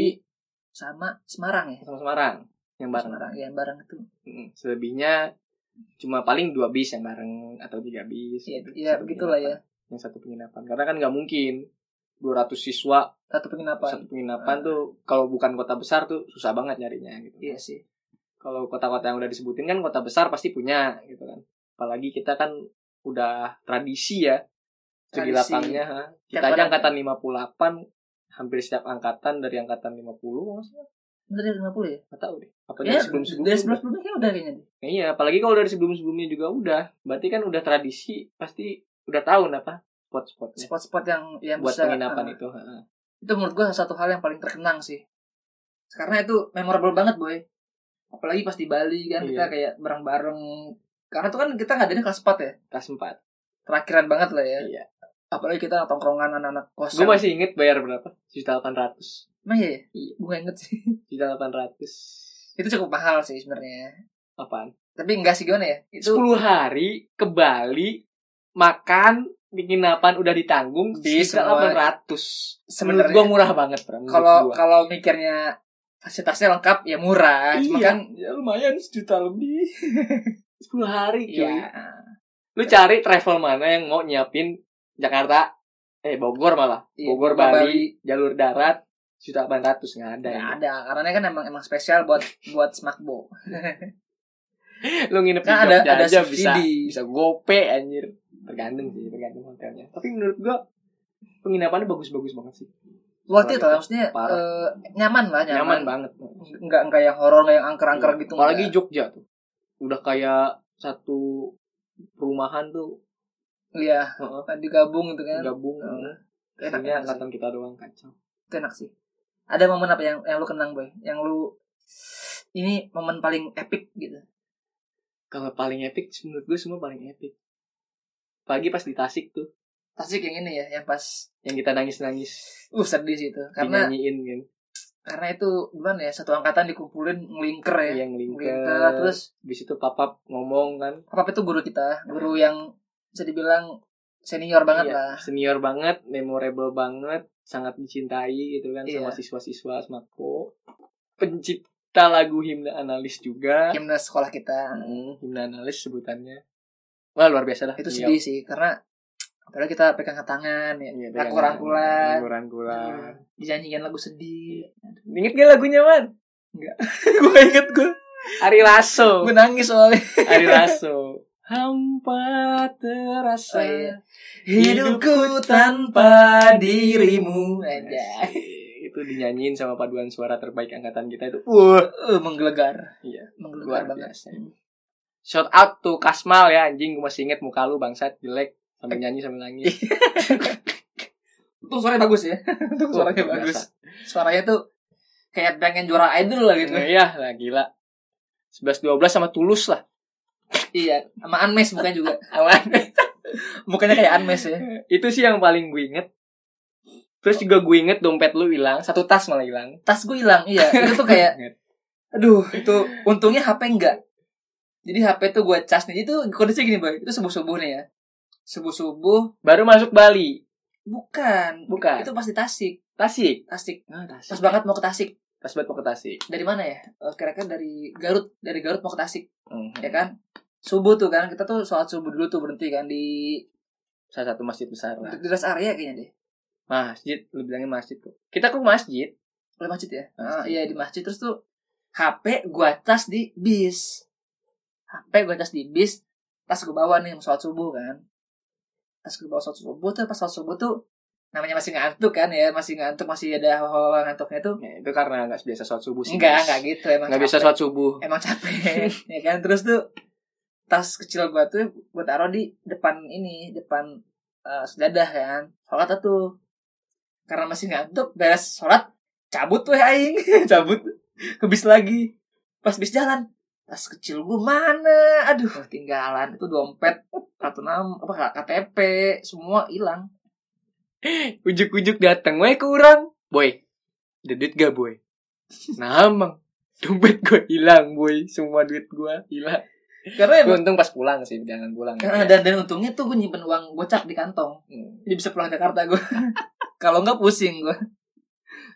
Speaker 1: sama Semarang ya.
Speaker 2: sama Semarang yang bareng.
Speaker 1: Semarang ya bareng itu.
Speaker 2: Mm, Selebihnya cuma paling dua bis yang bareng atau tiga bis.
Speaker 1: Iya,
Speaker 2: gitu.
Speaker 1: ya
Speaker 2: Satu
Speaker 1: begitulah ya.
Speaker 2: penginapan. Yang satu penginapan. Karena kan nggak mungkin 200 siswa
Speaker 1: Satu penginapan.
Speaker 2: satu penginapan tuh kalau bukan kota besar tuh susah banget nyarinya gitu.
Speaker 1: Iya sih.
Speaker 2: kalau kota-kota yang udah disebutin kan kota besar pasti punya gitu kan apalagi kita kan udah tradisi ya
Speaker 1: Tradisi.
Speaker 2: segi lapangnya ha.
Speaker 1: Tiap
Speaker 2: kita
Speaker 1: orang-
Speaker 2: aja angkatan 58 hampir setiap angkatan dari angkatan 50 maksudnya
Speaker 1: Dari 50 ya?
Speaker 2: nggak tahu deh
Speaker 1: Ya,
Speaker 2: apa dari sebelum sebelumnya
Speaker 1: dari sebelum sebelumnya udah kayaknya deh.
Speaker 2: iya apalagi kalau dari sebelum sebelumnya juga udah berarti kan udah tradisi pasti udah tahun apa spot-spotnya
Speaker 1: Spot-spot yang yang
Speaker 2: buat
Speaker 1: bisa
Speaker 2: penginapan
Speaker 1: ah,
Speaker 2: itu ha, ha.
Speaker 1: itu menurut gue satu hal yang paling terkenang sih. Karena itu memorable banget boy. Apalagi pas di Bali kan
Speaker 2: Iya.
Speaker 1: kita kayak bareng-bareng. Karena tuh kan kita nggak ada kelas 4 ya.
Speaker 2: kelas 4
Speaker 1: Terakhiran banget lah ya.
Speaker 2: iya
Speaker 1: Apalagi kita tongkrongan anak-anak kosan.
Speaker 2: gue masih inget bayar berapa juta 800
Speaker 1: Emang iya ya?
Speaker 2: Iya.
Speaker 1: Gue inget sih. <laughs>
Speaker 2: juta 800
Speaker 1: itu cukup mahal sih sebenarnya.
Speaker 2: apaan
Speaker 1: Tapi enggak sih gimana ya? Itu
Speaker 2: 10 hari ke Bali makan penginapan udah ditanggung
Speaker 1: Di
Speaker 2: bisa
Speaker 1: semua-
Speaker 2: 800. Menurut
Speaker 1: Sebenarnya-
Speaker 2: gua murah banget, Pram. Menurut
Speaker 1: kalau
Speaker 2: gua.
Speaker 1: kalau mikirnya fasilitasnya lengkap ya murah. Cuma
Speaker 2: Iya,
Speaker 1: kan
Speaker 2: ya lumayan sejuta
Speaker 1: <laughs>
Speaker 2: lebih. 10 hari, cuy.
Speaker 1: ya
Speaker 2: Lu cari travel mana yang mau nyiapin Jakarta eh Bogor malah.
Speaker 1: Iya,
Speaker 2: Bogor
Speaker 1: Bogor,
Speaker 2: Bali,
Speaker 1: Bali.
Speaker 2: jalur darat 1.800 nggak ada.
Speaker 1: nggak
Speaker 2: ya.
Speaker 1: ada karena kan emang emang spesial buat buat smakbo
Speaker 2: Lu nginep di
Speaker 1: Kan ada-
Speaker 2: Jogja
Speaker 1: ada
Speaker 2: aja
Speaker 1: subsidi.
Speaker 2: bisa bisa gope anjir. Tergantung sih, tergantung hotelnya. Tapi menurut gua penginapannya bagus-bagus banget sih.
Speaker 1: worth it lah maksudnya
Speaker 2: Parah.
Speaker 1: eh, nyaman lah nyaman,
Speaker 2: nyaman banget.
Speaker 1: nggak nggak yang horor nggak yang angker-angker
Speaker 2: Iya.
Speaker 1: gitu
Speaker 2: Apalagi
Speaker 1: nggak.
Speaker 2: Jogja tuh. Udah kayak satu perumahan tuh
Speaker 1: iya
Speaker 2: Heeh.
Speaker 1: digabung Iya, gitu kan
Speaker 2: gabung.
Speaker 1: Heeh. enak
Speaker 2: Kayaknya
Speaker 1: enak sih.
Speaker 2: angkatan kita doang kacau.
Speaker 1: Itu enak sih ada momen apa yang yang lu kenang boy yang lu ini momen paling epic gitu
Speaker 2: Kalau paling epic menurut gue semua paling epic. Apalagi pas di Tasik tuh
Speaker 1: Tasik yang ini ya yang pas
Speaker 2: yang kita nangis-nangis
Speaker 1: uh sedih sih itu karena
Speaker 2: dinyanyiin kan.
Speaker 1: karena itu gimana ya satu angkatan dikumpulin ngelingker ya
Speaker 2: Yang
Speaker 1: ngelingker
Speaker 2: lingkar terus
Speaker 1: terus
Speaker 2: di situ papap ngomong kan.
Speaker 1: apa itu guru kita guru yang bisa dibilang senior banget
Speaker 2: Iya,
Speaker 1: lah
Speaker 2: Senior banget, memorable banget, sangat dicintai gitu kan
Speaker 1: Iya.
Speaker 2: sama siswa-siswa Smako. Pencipta lagu himne analis juga.
Speaker 1: gimnas sekolah kita
Speaker 2: Hmm, himne analis sebutannya. Wah, luar biasa lah.
Speaker 1: itu
Speaker 2: Beliau.
Speaker 1: sedih sih karena apalagi kita pegang tangan ya
Speaker 2: Iya, pegangan.
Speaker 1: rangkul-rangkulan
Speaker 2: Rangkul-rangkulan.
Speaker 1: dinyanyikan lagu sedih
Speaker 2: Ingat gak lagunya, Man? Enggak. <laughs> gue inget gue. Ari Lasso.
Speaker 1: gue nangis soalnya
Speaker 2: Ari Lasso. Hampa terasa
Speaker 1: Oh, iya.
Speaker 2: Hidupku
Speaker 1: tanpa
Speaker 2: dirimu. Iya.
Speaker 1: aja
Speaker 2: itu dinyanyiin sama paduan suara terbaik angkatan kita itu. Wah,
Speaker 1: Eh, menggelegar
Speaker 2: Iya,
Speaker 1: menggelegar
Speaker 2: luar
Speaker 1: banget
Speaker 2: biasa. Shout out to Kasmal ya anjing, gue masih inget muka lu bangsat jelek sambil nyanyi sambil nangis.
Speaker 1: untung suaranya <laughs> bagus ya untung suaranya
Speaker 2: Luar
Speaker 1: bagus
Speaker 2: biasa.
Speaker 1: suaranya tuh kayak pengen juara idol lah gitu
Speaker 2: Nah, Iya lah gila. 11 12 sama Tulus lah.
Speaker 1: iya sama Anmes bukan
Speaker 2: <laughs>
Speaker 1: juga sama Anmes mukanya kayak Anmes ya
Speaker 2: Itu sih yang paling gue inget. Terus juga gue inget dompet lu hilang, satu tas malah hilang.
Speaker 1: tas gue hilang iya itu tuh kayak Aduh, itu untungnya HP enggak. Jadi HP tuh gue cas nih. Itu kondisinya gini, Boy. Itu subuh-subuh nih ya. Subuh-subuh
Speaker 2: <laughs> Baru masuk Bali,
Speaker 1: bukan.
Speaker 2: Bukan.
Speaker 1: Itu pasti Tasik.
Speaker 2: Tasik.
Speaker 1: Tasik.
Speaker 2: Ah,
Speaker 1: Pas
Speaker 2: Tasik.
Speaker 1: banget mau ke Tasik.
Speaker 2: Pas banget mau ke Tasik.
Speaker 1: Dari mana ya? Eh, Kira-kira dari Garut, dari Garut mau ke Tasik, ya
Speaker 2: Ya kan?
Speaker 1: kan? Subuh tuh kan kita tuh sholat subuh dulu tuh berhenti kan di
Speaker 2: Salah satu masjid besar
Speaker 1: di
Speaker 2: lah.
Speaker 1: rest area kayaknya deh.
Speaker 2: Masjid, lu bilangnya masjid kok. Kita ke masjid.
Speaker 1: Oleh masjid ya?
Speaker 2: Masjid.
Speaker 1: Ah, iya di masjid terus tuh HP gua cas di bis. HP gua cas di bis, tas gua bawa nih mau sholat subuh kan. Tas gua bawa sholat subuh tuh pas sholat subuh tuh namanya masih ngantuk kan ya, masih ngantuk, masih ada hawa-hawa ngantuknya tuh.
Speaker 2: Ya, itu karena nggak biasa sholat subuh sih.
Speaker 1: Enggak, enggak gitu emang.
Speaker 2: Nggak
Speaker 1: capek.
Speaker 2: biasa sholat subuh.
Speaker 1: Emang capek. ya kan terus tuh tas kecil gua tuh gua taruh di depan ini, depan ya eh, sejadah kan. Sholat tuh karena masih ngantuk beres sholat cabut weh aing <laughs> cabut ke bis lagi pas bis jalan tas kecil gue mana aduh ketinggalan itu dompet kartu nam apa KTP semua hilang
Speaker 2: Ujuk-ujuk dateng, weh kurang. Boy, ada duit gak boy? Nah, emang. Dompet gue hilang, boy. Semua duit gue hilang.
Speaker 1: karena
Speaker 2: Tapi
Speaker 1: emang
Speaker 2: untung pas pulang sih, jangan pulang.
Speaker 1: Nah, dan dan untungnya tuh gue nyimpen uang gocap di kantong
Speaker 2: Iya. Hmm.
Speaker 1: jadi bisa pulang Jakarta gue <laughs> kalau nggak pusing gue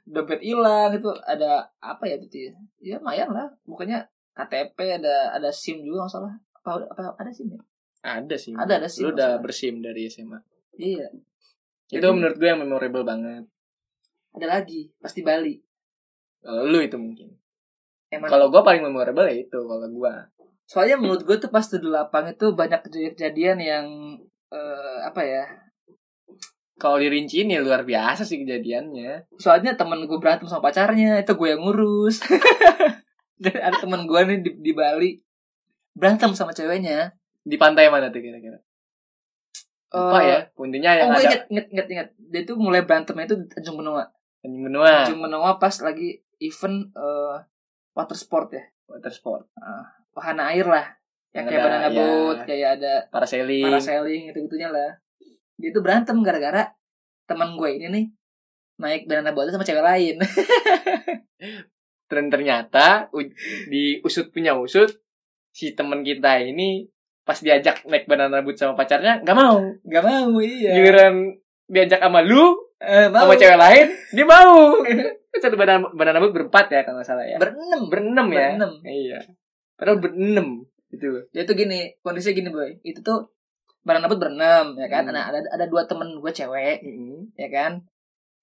Speaker 1: dompet hilang itu ada apa ya itu ya ya lumayan lah bukannya KTP ada ada SIM juga nggak salah apa, apa ada SIM ya
Speaker 2: Ada sih.
Speaker 1: Ada, ada sih,
Speaker 2: Lu udah
Speaker 1: maksudnya.
Speaker 2: bersim dari SMA.
Speaker 1: iya
Speaker 2: Itu menurut gue yang memorable banget.
Speaker 1: ada lagi pasti Bali
Speaker 2: Kalau lu itu mungkin.
Speaker 1: emang
Speaker 2: Kalau gue paling memorable ya itu. Kalau gue.
Speaker 1: soalnya menurut gue tuh pas di lapang itu banyak kejadian-kejadian yang eh, apa ya
Speaker 2: Kalau dirinciin ya luar biasa sih kejadiannya.
Speaker 1: soalnya temen gue berantem sama pacarnya itu gue yang ngurus <laughs> Jadi ada temen gue nih di, di Bali berantem sama ceweknya
Speaker 2: Di pantai mana tuh kira-kira? Lupa
Speaker 1: Eh,
Speaker 2: ya. Intinya yang
Speaker 1: oh gue
Speaker 2: ada. Nah.
Speaker 1: inget inget inget inget dia tuh mulai berantemnya itu di Tanjung Benoa
Speaker 2: Tanjung Benua.
Speaker 1: Tanjung Benoa pas lagi event eh, water sport ya
Speaker 2: Water sport.
Speaker 1: wahana air lah yang
Speaker 2: Yang
Speaker 1: kayak
Speaker 2: ada,
Speaker 1: banana
Speaker 2: ya.
Speaker 1: boat kayak ada
Speaker 2: Parasailing.
Speaker 1: parasailing gitu gitunya lah dia tuh berantem gara-gara teman gue ini nih naik banana boat sama cewek lain <laughs>
Speaker 2: Dan ternyata u- di usut punya usut si teman kita ini pas diajak naik banana boat sama pacarnya nggak mau.
Speaker 1: Gak mau iya
Speaker 2: Giliran diajak sama lu
Speaker 1: Eh, mau.
Speaker 2: sama cewek lain dia mau.
Speaker 1: <laughs>
Speaker 2: Kan Satu banana, banana boat berempat ya kalau nggak salah ya.
Speaker 1: berenam
Speaker 2: berenam ya.
Speaker 1: Berenam.
Speaker 2: Iya. Padahal berenam gitu.
Speaker 1: dia tuh gini kondisinya gini boy itu tuh barang dapat berenam ya kan
Speaker 2: Hmm.
Speaker 1: nah, ada ada dua temen gue cewek
Speaker 2: Heeh.
Speaker 1: ya kan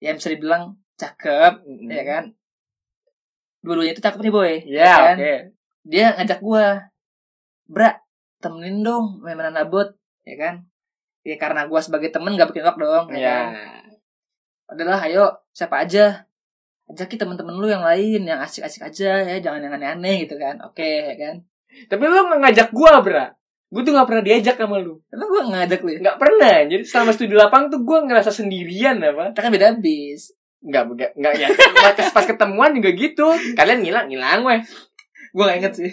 Speaker 1: yang bisa dibilang cakep ya
Speaker 2: Hmm.
Speaker 1: kan dua-duanya itu cakep nih boy
Speaker 2: Iya,
Speaker 1: kan?
Speaker 2: oke.
Speaker 1: dia ngajak gue bra temenin dong main banana boat ya kan ya karena gue sebagai temen gak bikin waktu dong ya
Speaker 2: Iya.
Speaker 1: kan adalah ayo siapa aja ajakin temen-temen lu yang lain yang asik-asik aja ya jangan yang aneh-aneh gitu kan oke ya kan
Speaker 2: Tapi lu nggak ngajak gua, Bra. Gua tuh nggak pernah diajak sama lu.
Speaker 1: emang gue ngajak lu ya?
Speaker 2: Nggak pernah. Jadi selama studi lapang tuh gua ngerasa sendirian apa.
Speaker 1: kita kan beda bis
Speaker 2: Enggak, enggak, enggak ya. Pas, pas ketemuan juga gitu. Kalian ngilang, ngilang weh.
Speaker 1: gue gak <laughs> inget sih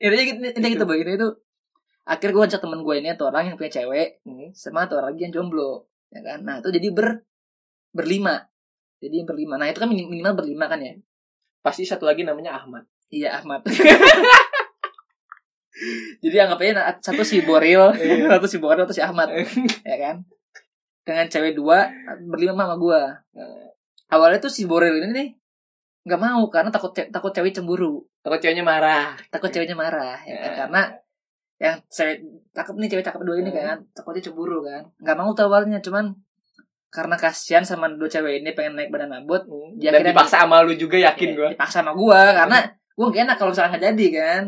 Speaker 1: intinya gitu intinya gitu boy intinya itu akhirnya gue ajak temen gue ini atau orang yang punya cewek sama atau orang lagi yang jomblo ya kan nah itu jadi ber berlima jadi berlima nah itu kan minim- minimal berlima kan ya
Speaker 2: Pasti satu lagi namanya Ahmad.
Speaker 1: iya Ahmad <laughs> jadi anggap aja na- satu si <laughs> Boril
Speaker 2: Iya.
Speaker 1: satu si Boril atau si Ahmad ya kan dengan cewek dua berlima sama gue awalnya tuh si Boril ini nih nggak mau karena takut ce- takut cewek cemburu
Speaker 2: Takut ceweknya marah.
Speaker 1: takut ceweknya marah ya kan?
Speaker 2: Ya.
Speaker 1: karena yang cewek cakep nih cewek cakep dua ini
Speaker 2: Hmm.
Speaker 1: kan takutnya cemburu kan nggak mau tuh awalnya cuman karena kasihan sama dua cewek ini pengen naik badan boat Ya,
Speaker 2: Dan
Speaker 1: kira-
Speaker 2: dipaksa sama lu juga yakin
Speaker 1: ya,
Speaker 2: gua.
Speaker 1: dipaksa sama gua Iya. karena gua gak enak kalau misalnya nggak jadi kan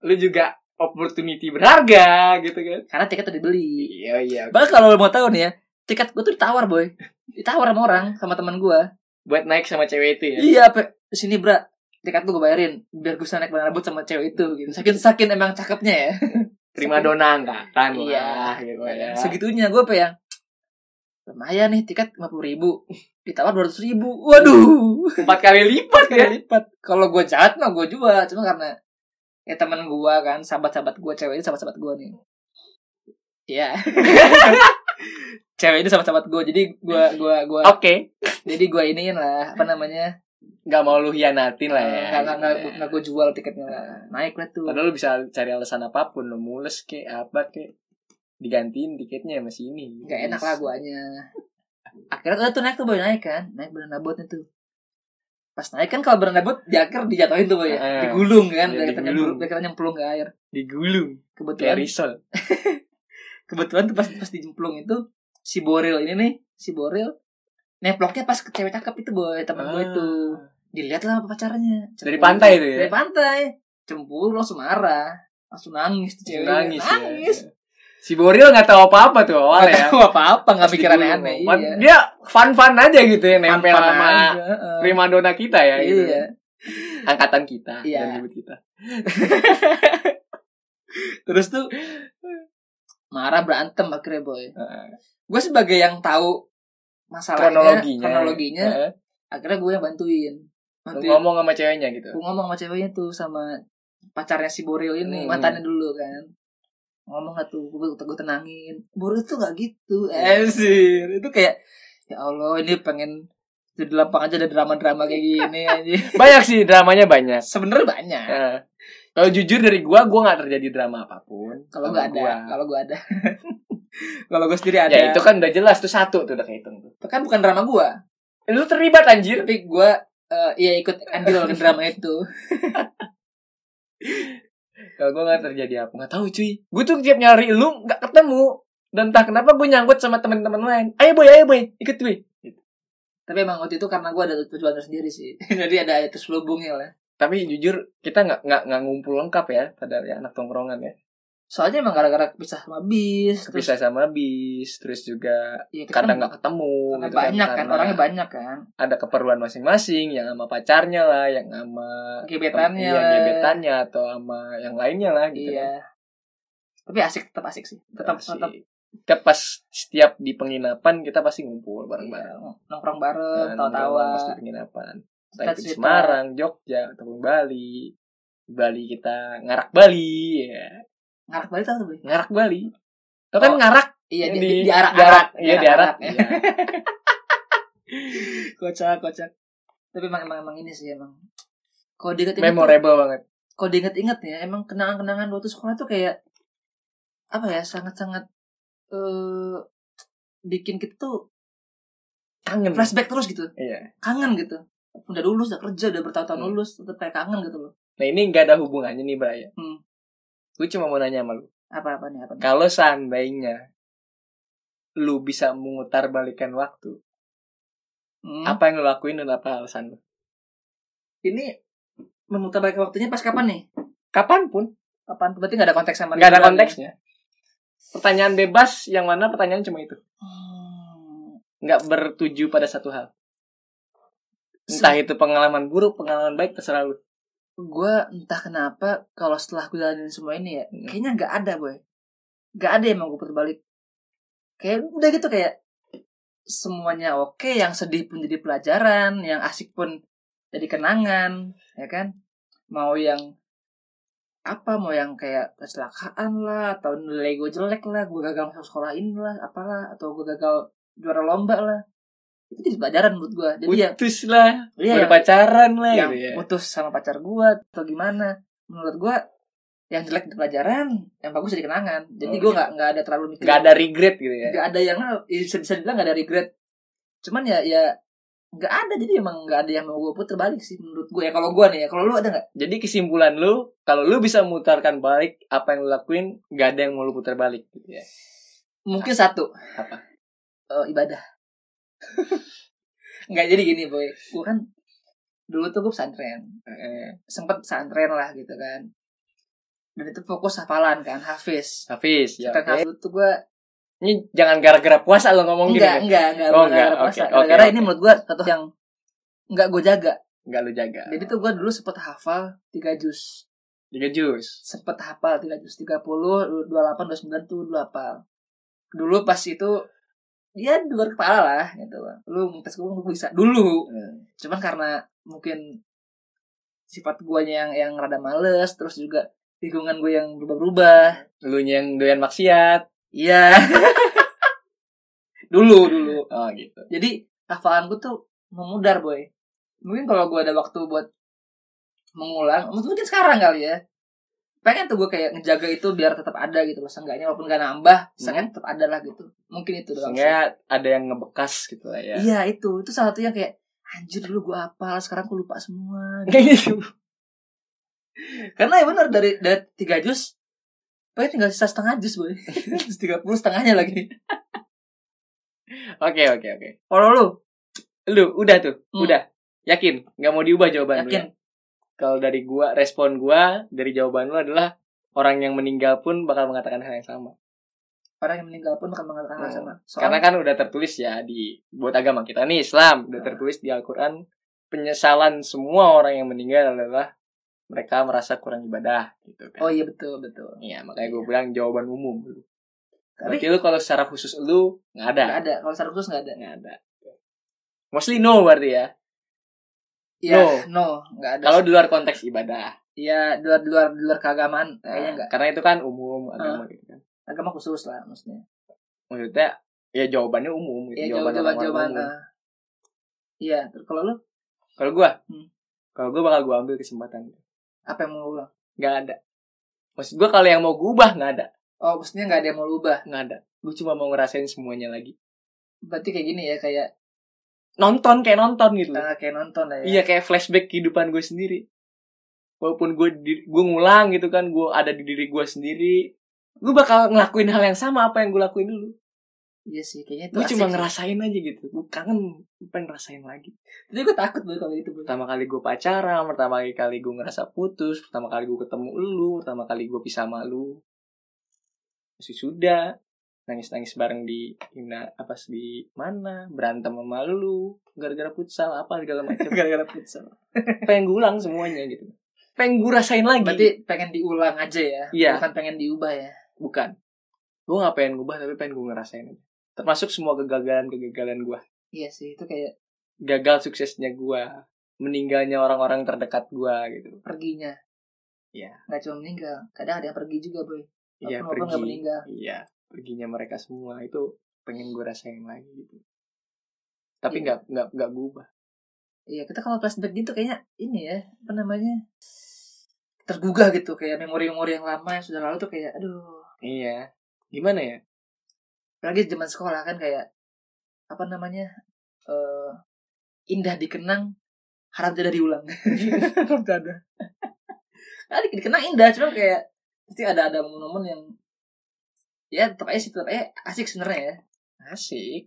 Speaker 2: Lu juga opportunity berharga gitu kan.
Speaker 1: karena tiket udah dibeli
Speaker 2: Iya, iya.
Speaker 1: bahkan kalau lo mau tahu nih ya tiket gua tuh ditawar boy ditawar sama orang sama teman gua
Speaker 2: Buat naik sama cewek itu ya.
Speaker 1: iya pe sini bra tiket lu gue bayarin biar gue bisa naik badan boat sama cewek itu gitu saking saking emang cakepnya ya
Speaker 2: Terima dona angkatan
Speaker 1: Iya.
Speaker 2: lah gitu ya.
Speaker 1: segitunya gue apa yang lumayan nih tiket lima puluh ribu ditawar dua ratus ribu waduh
Speaker 2: Empat kali lipat ya.
Speaker 1: kali lipat kalau gue jahat mah gue jual cuma karena ya teman gue kan sahabat-sahabat gue cewek ini sahabat-sahabat gue nih Iya
Speaker 2: <laughs>
Speaker 1: cewek ini sahabat-sahabat gue jadi gue gue gue
Speaker 2: Oke.
Speaker 1: jadi gue iniin lah apa namanya
Speaker 2: Nggak mau lu hianatin lah ya.
Speaker 1: nggak nggak nggak
Speaker 2: gitu ya.
Speaker 1: nggak gue jual tiketnya lah naik lah tuh
Speaker 2: Padahal lu bisa cari alasan apapun, lu mules kek, apa kek. Digantiin tiketnya sama sini.
Speaker 1: nggak enak lah guanya akhirnya udah tuh naik tuh boy naik kan naik banana boatnya tuh pas naik kan kalau banana boat di akhir dijatuhin tuh boy ya.
Speaker 2: Heeh.
Speaker 1: digulung kan
Speaker 2: Iya,
Speaker 1: dari kita
Speaker 2: digulung.
Speaker 1: nyemplung dari kita nyemplung ke air
Speaker 2: Digulung.
Speaker 1: kebetulan
Speaker 2: Kayak risol.
Speaker 1: kebetulan tuh pas pas dijemplung itu si Boril ini nih si Boril neploknya pas ke cewek cakep itu boy temen gue itu dilihat lah sama pacarnya
Speaker 2: Ah. Dari pantai itu ya?
Speaker 1: dari pantai cemburu langsung marah langsung nangis tuh cewek
Speaker 2: nangis, ya.
Speaker 1: nangis
Speaker 2: Si Boril nggak tahu apa-apa tuh
Speaker 1: Nggak
Speaker 2: awalnya.
Speaker 1: tahu apa-apa nggak mikir aneh-aneh
Speaker 2: Pas digulung.
Speaker 1: iya.
Speaker 2: Dia fun-fun aja gitu ya nempel
Speaker 1: Pan-pan
Speaker 2: sama
Speaker 1: aja, heeh.
Speaker 2: primadona kita ya gitu.
Speaker 1: iya
Speaker 2: Angkatan kita
Speaker 1: Iya.
Speaker 2: dan nyebut kita.
Speaker 1: terus tuh marah berantem akhirnya boy
Speaker 2: Heeh.
Speaker 1: gue sebagai yang tahu masalahnya
Speaker 2: Kronologinya.
Speaker 1: ya? kronologinya
Speaker 2: Heeh.
Speaker 1: akhirnya gue yang bantuin
Speaker 2: Lu
Speaker 1: bantuin
Speaker 2: ngomong sama ceweknya gitu
Speaker 1: gue ngomong sama ceweknya tuh sama pacarnya si Boril ini
Speaker 2: Hmm.
Speaker 1: mantannya dulu kan ngomong gak tuh gue, gue tenangin Boril tuh gak gitu anjir itu kayak ya Allah ini pengen di lapang aja ada drama-drama kayak gini aja
Speaker 2: <laughs> banyak sih dramanya banyak
Speaker 1: sebenernya banyak
Speaker 2: Eh, kalau jujur dari gua gua nggak terjadi drama apapun
Speaker 1: kalau
Speaker 2: Sama
Speaker 1: gue ada
Speaker 2: gua.
Speaker 1: kalau gue ada <laughs> kalau gue sendiri ada
Speaker 2: ya itu kan udah jelas tuh satu tuh udah kehitung tuh
Speaker 1: Itu kan bukan drama gue
Speaker 2: lu terlibat anjir
Speaker 1: tapi gue eh, iya ikut andil ke drama itu
Speaker 2: kalau gue nggak terjadi apa nggak tahu cuy gue tuh tiap nyari lu nggak ketemu dan entah kenapa gue nyangkut sama teman-teman lain ayo boy ayo boy ikut boy
Speaker 1: tapi emang waktu itu karena gue ada tujuan tersendiri sih <laughs> jadi ada ya, ada terselubungnya lah
Speaker 2: tapi jujur kita nggak nggak nggak ngumpul lengkap ya padahal ya anak tongkrongan ya
Speaker 1: soalnya emang gara-gara pisah sama bis terus
Speaker 2: bisa sama bis terus juga
Speaker 1: Iya, kita kan-
Speaker 2: kadang nggak ketemu
Speaker 1: karena
Speaker 2: gitu
Speaker 1: banyak kan,
Speaker 2: karena
Speaker 1: orangnya banyak kan
Speaker 2: ada keperluan masing-masing yang sama pacarnya lah yang sama
Speaker 1: gebetannya
Speaker 2: iya,
Speaker 1: lah.
Speaker 2: gebetannya atau sama yang lainnya lah gitu
Speaker 1: iya
Speaker 2: kan.
Speaker 1: tapi asik tetap asik sih tetap
Speaker 2: Asik.
Speaker 1: tetap
Speaker 2: Kita pas setiap di penginapan kita pasti ngumpul bareng-bareng
Speaker 1: nongkrong bareng
Speaker 2: Dan
Speaker 1: tawa-tawa
Speaker 2: Nah, pas di penginapan entah itu di
Speaker 1: Cerita-cerita.
Speaker 2: Semarang Jogja ataupun Bali Bali kita ngarak Bali ya
Speaker 1: ngarak balik tau tuh
Speaker 2: ngarak Bali Tau kan
Speaker 1: Oh,
Speaker 2: ngarak
Speaker 1: iya
Speaker 2: yang
Speaker 1: di, di, di arak
Speaker 2: diarak. iya di arak
Speaker 1: ya.
Speaker 2: Iya.
Speaker 1: kocak kocak tapi emang emang emang ini sih emang kalau diinget-inget tuh-
Speaker 2: memorable banget
Speaker 1: kalau diinget-inget ya emang kenangan-kenangan waktu sekolah tuh kayak apa ya sangat-sangat eh bikin kita tuh
Speaker 2: kangen
Speaker 1: flashback terus gitu
Speaker 2: iya
Speaker 1: kangen gitu udah lulus udah kerja udah bertahun-tahun
Speaker 2: Hmm.
Speaker 1: lulus tetap kayak kangen gitu loh
Speaker 2: nah ini nggak ada hubungannya nih Bray
Speaker 1: Hmm.
Speaker 2: gue cuma mau nanya sama lu
Speaker 1: apa apa nih apa nih
Speaker 2: kalau seandainya lu bisa memutar balikan waktu
Speaker 1: Hmm.
Speaker 2: apa yang lu lakuin dan apa alasan lu
Speaker 1: ini memutar balik waktunya pas kapan nih
Speaker 2: kapanpun
Speaker 1: kapan berarti nggak ada konteks sama
Speaker 2: nggak
Speaker 1: liburan
Speaker 2: ada
Speaker 1: ya?
Speaker 2: konteksnya pertanyaan bebas yang mana pertanyaan cuma itu
Speaker 1: Hmm.
Speaker 2: nggak bertuju pada satu hal entah itu pengalaman buruk pengalaman baik terserah lu
Speaker 1: gue entah kenapa kalau setelah gue jalanin semua ini ya
Speaker 2: Hmm.
Speaker 1: kayaknya nggak ada boy nggak ada yang mau gue putar balik kayak udah gitu kayak semuanya oke yang sedih pun jadi pelajaran yang asik pun jadi kenangan ya kan mau yang apa mau yang kayak kecelakaan lah atau nilai gue jelek lah gue gagal masuk sekolah ini lah apalah atau gue gagal juara lomba lah itu jadi pelajaran menurut gue jadi ya
Speaker 2: putus lah
Speaker 1: iya yang-
Speaker 2: berpacaran lah
Speaker 1: yang
Speaker 2: gitu ya
Speaker 1: putus sama pacar gua atau gimana menurut gua yang jelek di pelajaran yang bagus jadi kenangan jadi
Speaker 2: Oh.
Speaker 1: gua nggak nggak ada terlalu mikir
Speaker 2: nggak ada regret gitu ya
Speaker 1: nggak ada yang ya bisa bisa dibilang nggak ada regret cuman ya ya nggak ada jadi emang nggak ada yang mau gua puter balik sih menurut gua ya kalau gua nih ya kalau lu ada nggak
Speaker 2: jadi kesimpulan lu kalau lu bisa memutarkan balik apa yang lu lakuin nggak ada yang mau lu putar balik gitu ya
Speaker 1: mungkin satu
Speaker 2: Apa?
Speaker 1: Eh,
Speaker 2: <laughs>
Speaker 1: ibadah nggak jadi gini boy gua kan dulu tuh gua pesantren
Speaker 2: Eh,
Speaker 1: sempet pesantren lah gitu kan dan itu fokus hafalan kan hafiz
Speaker 2: Hafiz ya
Speaker 1: Kan
Speaker 2: oke.
Speaker 1: dulu tuh gua
Speaker 2: Ini jangan gara-gara puasa lo ngomong
Speaker 1: enggak,
Speaker 2: gitu.
Speaker 1: enggak,
Speaker 2: ya?
Speaker 1: enggak,
Speaker 2: Oh,
Speaker 1: enggak, gara-gara
Speaker 2: enggak,
Speaker 1: puasa.
Speaker 2: oke, Iya.
Speaker 1: Gara-gara ini
Speaker 2: oke, oke.
Speaker 1: menurut gua satu yang enggak gua jaga.
Speaker 2: Enggak lu jaga.
Speaker 1: Jadi tuh gua dulu sempet hafal 3 jus.
Speaker 2: Tiga jus.
Speaker 1: Sempet hafal 3 jus 30, 28, 29 tuh dulu hafal. Dulu pas itu ya di luar kepala lah gitu. Lu ngetes gua gua bisa dulu.
Speaker 2: Hmm.
Speaker 1: Cuman karena mungkin sifat guanya yang yang rada males terus juga lingkungan gue yang berubah-berubah.
Speaker 2: Lu yang doyan maksiat.
Speaker 1: Iya. dulu, dulu.
Speaker 2: Oh gitu.
Speaker 1: jadi hafalan gue tuh memudar boy mungkin kalau gue ada waktu buat mengulang mungkin sekarang kali ya pengen tuh gue kayak ngejaga itu biar tetap ada gitu loh seenggaknya walaupun gak nambah
Speaker 2: Hmm.
Speaker 1: seenggaknya tetap ada lah gitu mungkin itu doang sih.
Speaker 2: Sehingga ada yang ngebekas gitu lah ya.
Speaker 1: iya itu itu salah satu yang kayak anjir dulu gue hafal sekarang gue lupa
Speaker 2: <laughs>
Speaker 1: semua
Speaker 2: Kayak gitu.
Speaker 1: karena ya benar dari dari tiga jus paling tinggal sisa setengah jus boy <laughs> Terus tiga puluh setengahnya lagi
Speaker 2: Oke oke oke.
Speaker 1: kalau lu
Speaker 2: Lu udah tuh,
Speaker 1: Hmm.
Speaker 2: udah. Yakin nggak mau diubah jawaban lu. ya?
Speaker 1: yakin
Speaker 2: Kalau dari gua respon gua dari jawaban lu adalah orang yang meninggal pun bakal mengatakan hal yang sama.
Speaker 1: orang yang meninggal pun akan mengatakan hal
Speaker 2: Hmm.
Speaker 1: sama soalnya
Speaker 2: Karena kan udah tertulis ya di buat agama kita nih Islam, udah
Speaker 1: Hmm.
Speaker 2: tertulis di Al-Qur'an penyesalan semua orang yang meninggal adalah mereka merasa kurang ibadah gitu kan.
Speaker 1: oh iya betul betul
Speaker 2: Iya, makanya gue bilang jawaban umum.
Speaker 1: tapi
Speaker 2: Berarti lu kalau secara khusus lu nggak ada.
Speaker 1: nggak ada kalau secara khusus nggak ada
Speaker 2: Nggak ada. Mostly no berarti ya.
Speaker 1: Iya,
Speaker 2: No.
Speaker 1: no, nggak ada.
Speaker 2: Kalau di luar konteks ibadah,
Speaker 1: Iya, di luar di luar di luar keagamaan kayaknya Ah.
Speaker 2: Nah,
Speaker 1: enggak.
Speaker 2: karena itu kan umum agama gitu kan.
Speaker 1: Agama khusus lah maksudnya.
Speaker 2: Maksudnya ya jawabannya umum, gitu.
Speaker 1: Iya, jawaban-jawaban
Speaker 2: orang-orang
Speaker 1: jawaban.
Speaker 2: umum.
Speaker 1: ah. Iya, terus kalau lu
Speaker 2: Kalau gua,
Speaker 1: Hmm.
Speaker 2: kalau gua bakal gua ambil kesempatan.
Speaker 1: apa yang mau lu ulang?
Speaker 2: Gak ada. Maksud gua kalau yang mau gua ubah nggak ada,
Speaker 1: Oh, maksudnya nggak ada yang mau lu ubah.
Speaker 2: nggak ada. Gua cuma mau ngerasain semuanya lagi.
Speaker 1: Berarti kayak gini ya, kayak
Speaker 2: Nonton kayak nonton gitu.
Speaker 1: ah, kayak nonton lah ya.
Speaker 2: Iya kayak flashback kehidupan gue sendiri. Walaupun gue gue ngulang gitu kan, gue ada di diri gue sendiri. Gue bakal ngelakuin hal yang sama apa yang gue lakuin dulu.
Speaker 1: Iya sih, kayaknya itu
Speaker 2: Gue
Speaker 1: asik
Speaker 2: cuma
Speaker 1: sih.
Speaker 2: ngerasain aja gitu. Gue kangen, gue pengen ngerasain lagi.
Speaker 1: Tapi gue takut banget kalau
Speaker 2: <laughs>
Speaker 1: itu. Boy.
Speaker 2: Pertama kali gue pacaran, pertama kali gue ngerasa putus, pertama kali gue ketemu lu, pertama kali gue pisah sama lu. Masih sudah nangis-nangis bareng di ina apa sih, di mana berantem sama lu gara-gara futsal apa
Speaker 1: <laughs>
Speaker 2: segala macam
Speaker 1: <laughs> Gara-gara futsal.
Speaker 2: pengen gue ulang semuanya gitu pengen gue rasain lagi
Speaker 1: Berarti pengen diulang aja ya.
Speaker 2: Iya.
Speaker 1: Bukan pengen diubah ya.
Speaker 2: bukan gue nggak pengen ngubah tapi pengen gue ngerasain aja termasuk semua kegagalan kegagalan gue
Speaker 1: Iya sih, itu kayak
Speaker 2: gagal suksesnya gue meninggalnya orang-orang terdekat gue gitu
Speaker 1: perginya.
Speaker 2: Iya.
Speaker 1: Gak cuma meninggal, kadang ada yang pergi juga, Boy.
Speaker 2: iya
Speaker 1: Walaupun- walaupun nggak
Speaker 2: pergi
Speaker 1: meninggal.
Speaker 2: iya perginya mereka semua itu pengen gue rasain lagi gitu tapi
Speaker 1: Iya.
Speaker 2: nggak nggak nggak gue ubah
Speaker 1: Iya, kita kalau flashback gitu kayaknya ini ya, apa namanya? Tergugah gitu kayak memori-memori yang lama yang sudah lalu tuh kayak aduh.
Speaker 2: iya gimana ya
Speaker 1: Lagi zaman sekolah kan kayak apa namanya? eh indah dikenang, haram tidak diulang. haram tidak ada. Nah, di- dikenang indah, cuma kayak pasti ada ada momen-momen yang ya tetap aja sih, tetap aja asik sebenarnya ya.
Speaker 2: asik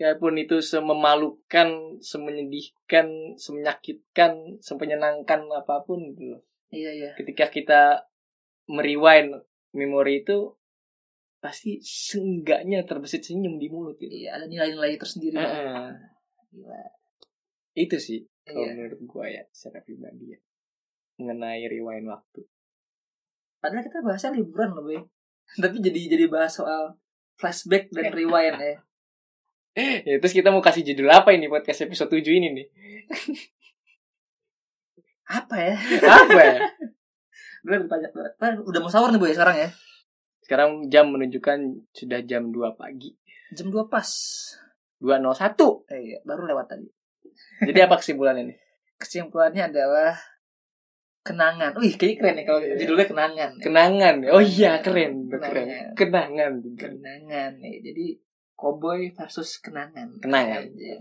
Speaker 2: Walaupun itu sememalukan, semenyedihkan, semenyakitkan, semenyenangkan apapun gitu loh.
Speaker 1: Iya, iya.
Speaker 2: ketika kita merewind memori itu pasti seenggaknya terbesit senyum di mulut gitu.
Speaker 1: Iya, ada nilai-nilai tersendiri. lah.
Speaker 2: Heeh.
Speaker 1: Gila.
Speaker 2: Itu sih kalau
Speaker 1: Iya.
Speaker 2: menurut gua ya secara pribadi ya mengenai rewind waktu. <gasps>
Speaker 1: Padahal kita bahasnya liburan loh, Boy. <laughs> Tapi jadi jadi bahas soal flashback dan rewind ya.
Speaker 2: ya terus kita mau kasih judul apa ini podcast episode 7 ini
Speaker 1: <laughs>
Speaker 2: nih?
Speaker 1: Apa ya?
Speaker 2: apa ya?
Speaker 1: Gue lebih banyak apa, udah mau sahur nih, Boy, sekarang ya.
Speaker 2: Sekarang jam menunjukkan sudah jam 2 pagi.
Speaker 1: Jam 2 pas.
Speaker 2: 2.01.
Speaker 1: Eh, iya, baru lewat tadi.
Speaker 2: Jadi apa kesimpulannya nih?
Speaker 1: Kesimpulannya adalah kenangan. Wih, kayaknya keren nih kalau
Speaker 2: Iya.
Speaker 1: judulnya kenangan. ya.
Speaker 2: Kenangan. Oh iya, keren. Keren.
Speaker 1: Kenangan. ya.
Speaker 2: Kenangan.
Speaker 1: Kenangan nih. Jadi Cowboy versus kenangan.
Speaker 2: Kenangan.
Speaker 1: Iya.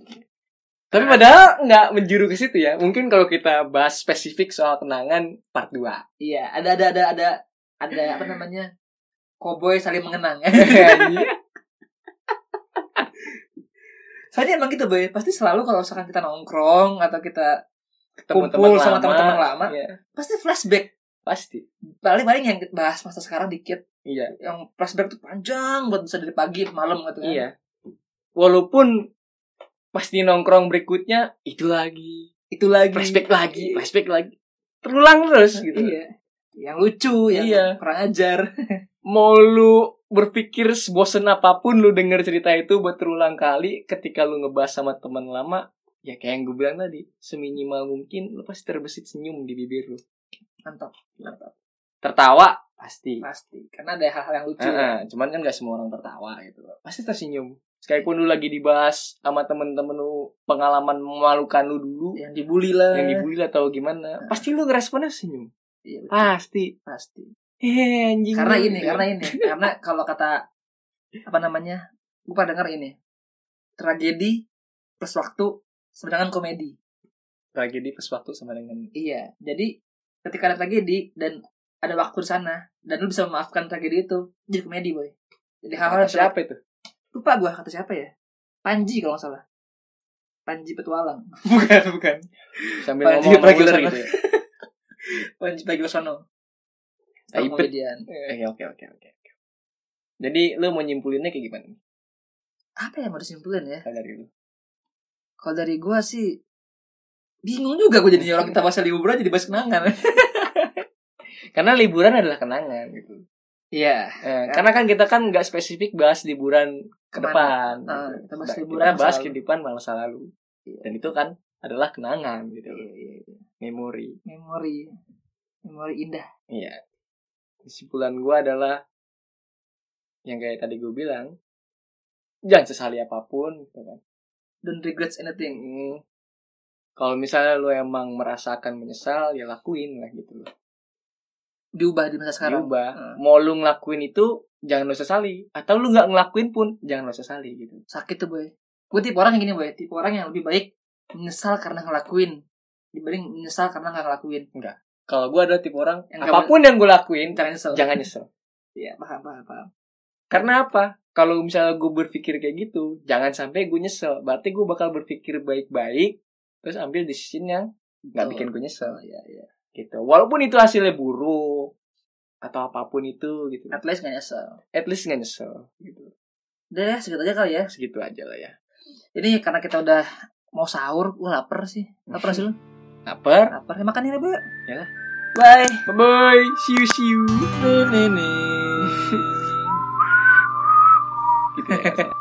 Speaker 2: Tapi padahal nggak menjuru ke situ ya. Mungkin kalau kita bahas spesifik soal kenangan part 2.
Speaker 1: <laughs> Iya, ada ada ada ada ada apa namanya? Cowboy saling mengenang. <laughs>
Speaker 2: Iya.
Speaker 1: Soalnya emang gitu, Boy. Pasti selalu kalau misalkan kita nongkrong atau kita
Speaker 2: Ketemu
Speaker 1: Kumpul sama teman-teman lama.
Speaker 2: Iya,
Speaker 1: pasti flashback.
Speaker 2: pasti.
Speaker 1: Paling-paling yang kita bahas masa sekarang dikit.
Speaker 2: Iya.
Speaker 1: Yang flashback tuh panjang buat bisa dari pagi ke malam gitu kan.
Speaker 2: Iya. Walaupun pasti nongkrong berikutnya itu lagi,
Speaker 1: Itu lagi.
Speaker 2: flashback lagi, flashback lagi. Terulang terus gitu.
Speaker 1: Iya. Yang lucu, yang
Speaker 2: Iya.
Speaker 1: kurang ajar.
Speaker 2: Mau lu berpikir sebosen apapun lu denger cerita itu buat terulang kali ketika lu ngebahas sama teman lama ya kayak yang gue bilang tadi seminimal mungkin lu pasti terbesit senyum di bibir lu
Speaker 1: Mantap, mantap.
Speaker 2: tertawa pasti
Speaker 1: Pasti. Karena ada hal-hal yang lucu.
Speaker 2: Heeh, cuman kan gak semua orang tertawa gitu loh. Pasti tersenyum. Sekalipun lu lagi dibahas sama temen-temen lu pengalaman memalukan lu dulu
Speaker 1: Yang dibully lah.
Speaker 2: yang dibully atau gimana, pasti lu ngeresponnya senyum.
Speaker 1: Iya, betul.
Speaker 2: Ah. Pasti.
Speaker 1: Pasti.
Speaker 2: Hehe, anjing.
Speaker 1: Karena
Speaker 2: lu
Speaker 1: ini,
Speaker 2: gitu.
Speaker 1: karena ini. Karena kalau kata, apa namanya, gue pernah denger ini. Tragedi plus waktu sedangkan komedi.
Speaker 2: tragedi pas waktu sama dengan
Speaker 1: Iya, jadi ketika ada tragedi dan ada waktu di sana dan lu bisa memaafkan tragedi itu jadi komedi boy. Jadi hal-hal yang
Speaker 2: siapa itu?
Speaker 1: lupa gue kata siapa ya? Panji kalau nggak salah. Panji petualang.
Speaker 2: <laughs> bukan, bukan. Sambil
Speaker 1: Panji
Speaker 2: ngomong sama ular
Speaker 1: Pragiwaksono.
Speaker 2: gitu ya.
Speaker 1: Panji Pragiwaksono.
Speaker 2: Tai
Speaker 1: Tapi
Speaker 2: pet.
Speaker 1: komedian.
Speaker 2: Eh, Oke, oke, oke. oke. Jadi lu mau nyimpulinnya kayak gimana?
Speaker 1: Apa yang mau disimpulin ya?
Speaker 2: Kalau dari lu.
Speaker 1: Kalau dari gue sih bingung juga gue jadinya orang kita bahas liburan jadi bahas
Speaker 2: <laughs>
Speaker 1: kenangan.
Speaker 2: Karena liburan adalah kenangan gitu.
Speaker 1: Iya.
Speaker 2: Eh, karena kan kita kan nggak spesifik bahas liburan ke
Speaker 1: Kemana?
Speaker 2: depan.
Speaker 1: Ah, kita bahas
Speaker 2: Nah,
Speaker 1: liburan
Speaker 2: kita bahas
Speaker 1: masa lalu.
Speaker 2: kehidupan masa lalu.
Speaker 1: Iya.
Speaker 2: Dan itu kan adalah kenangan gitu
Speaker 1: Iya, iya, iya.
Speaker 2: memori
Speaker 1: Memori. Memori indah.
Speaker 2: iya kesimpulan gue adalah yang kayak tadi gue bilang jangan sesali apapun gitu kan.
Speaker 1: Don't regrets anything.
Speaker 2: Mm. kalau misalnya lo emang merasakan menyesal ya lakuin lah gitu loh
Speaker 1: Diubah di masa sekarang. Hmm.
Speaker 2: diubah mau lu ngelakuin itu jangan lo sesali atau lu nggak ngelakuin pun jangan lo sesali gitu
Speaker 1: Sakit tuh, Boy. Gue tipe orang yang gini, Boy. Tipe orang yang lebih baik menyesal karena ngelakuin. Dibanding menyesal karena nggak ngelakuin.
Speaker 2: kalau gue adalah tipe orang
Speaker 1: Yang nggak
Speaker 2: apapun yang gue lakuin
Speaker 1: Jangan nyesel.
Speaker 2: jangan nyesel
Speaker 1: Iya, paham, paham, paham.
Speaker 2: karena apa kalau misalnya gue berpikir kayak gitu jangan sampai gue nyesel berarti gue bakal berpikir baik-baik terus ambil decision yang nggak bikin gue nyesel
Speaker 1: Iya, iya.
Speaker 2: gitu walaupun itu hasilnya buruk atau apapun itu gitu
Speaker 1: At least nggak nyesel.
Speaker 2: at least nggak nyesel gitu
Speaker 1: Udah ya, segitu aja kali ya.
Speaker 2: segitu aja lah ya
Speaker 1: Jadi karena kita udah mau sahur, gue lapar sih. Lapar sih lu?
Speaker 2: lapar
Speaker 1: Lapar. Ya, makan ya, Bu.
Speaker 2: Yalah.
Speaker 1: Bye.
Speaker 2: bye bye see you see you
Speaker 1: Nenek.
Speaker 2: <laughs> gitu ya, nggak salah.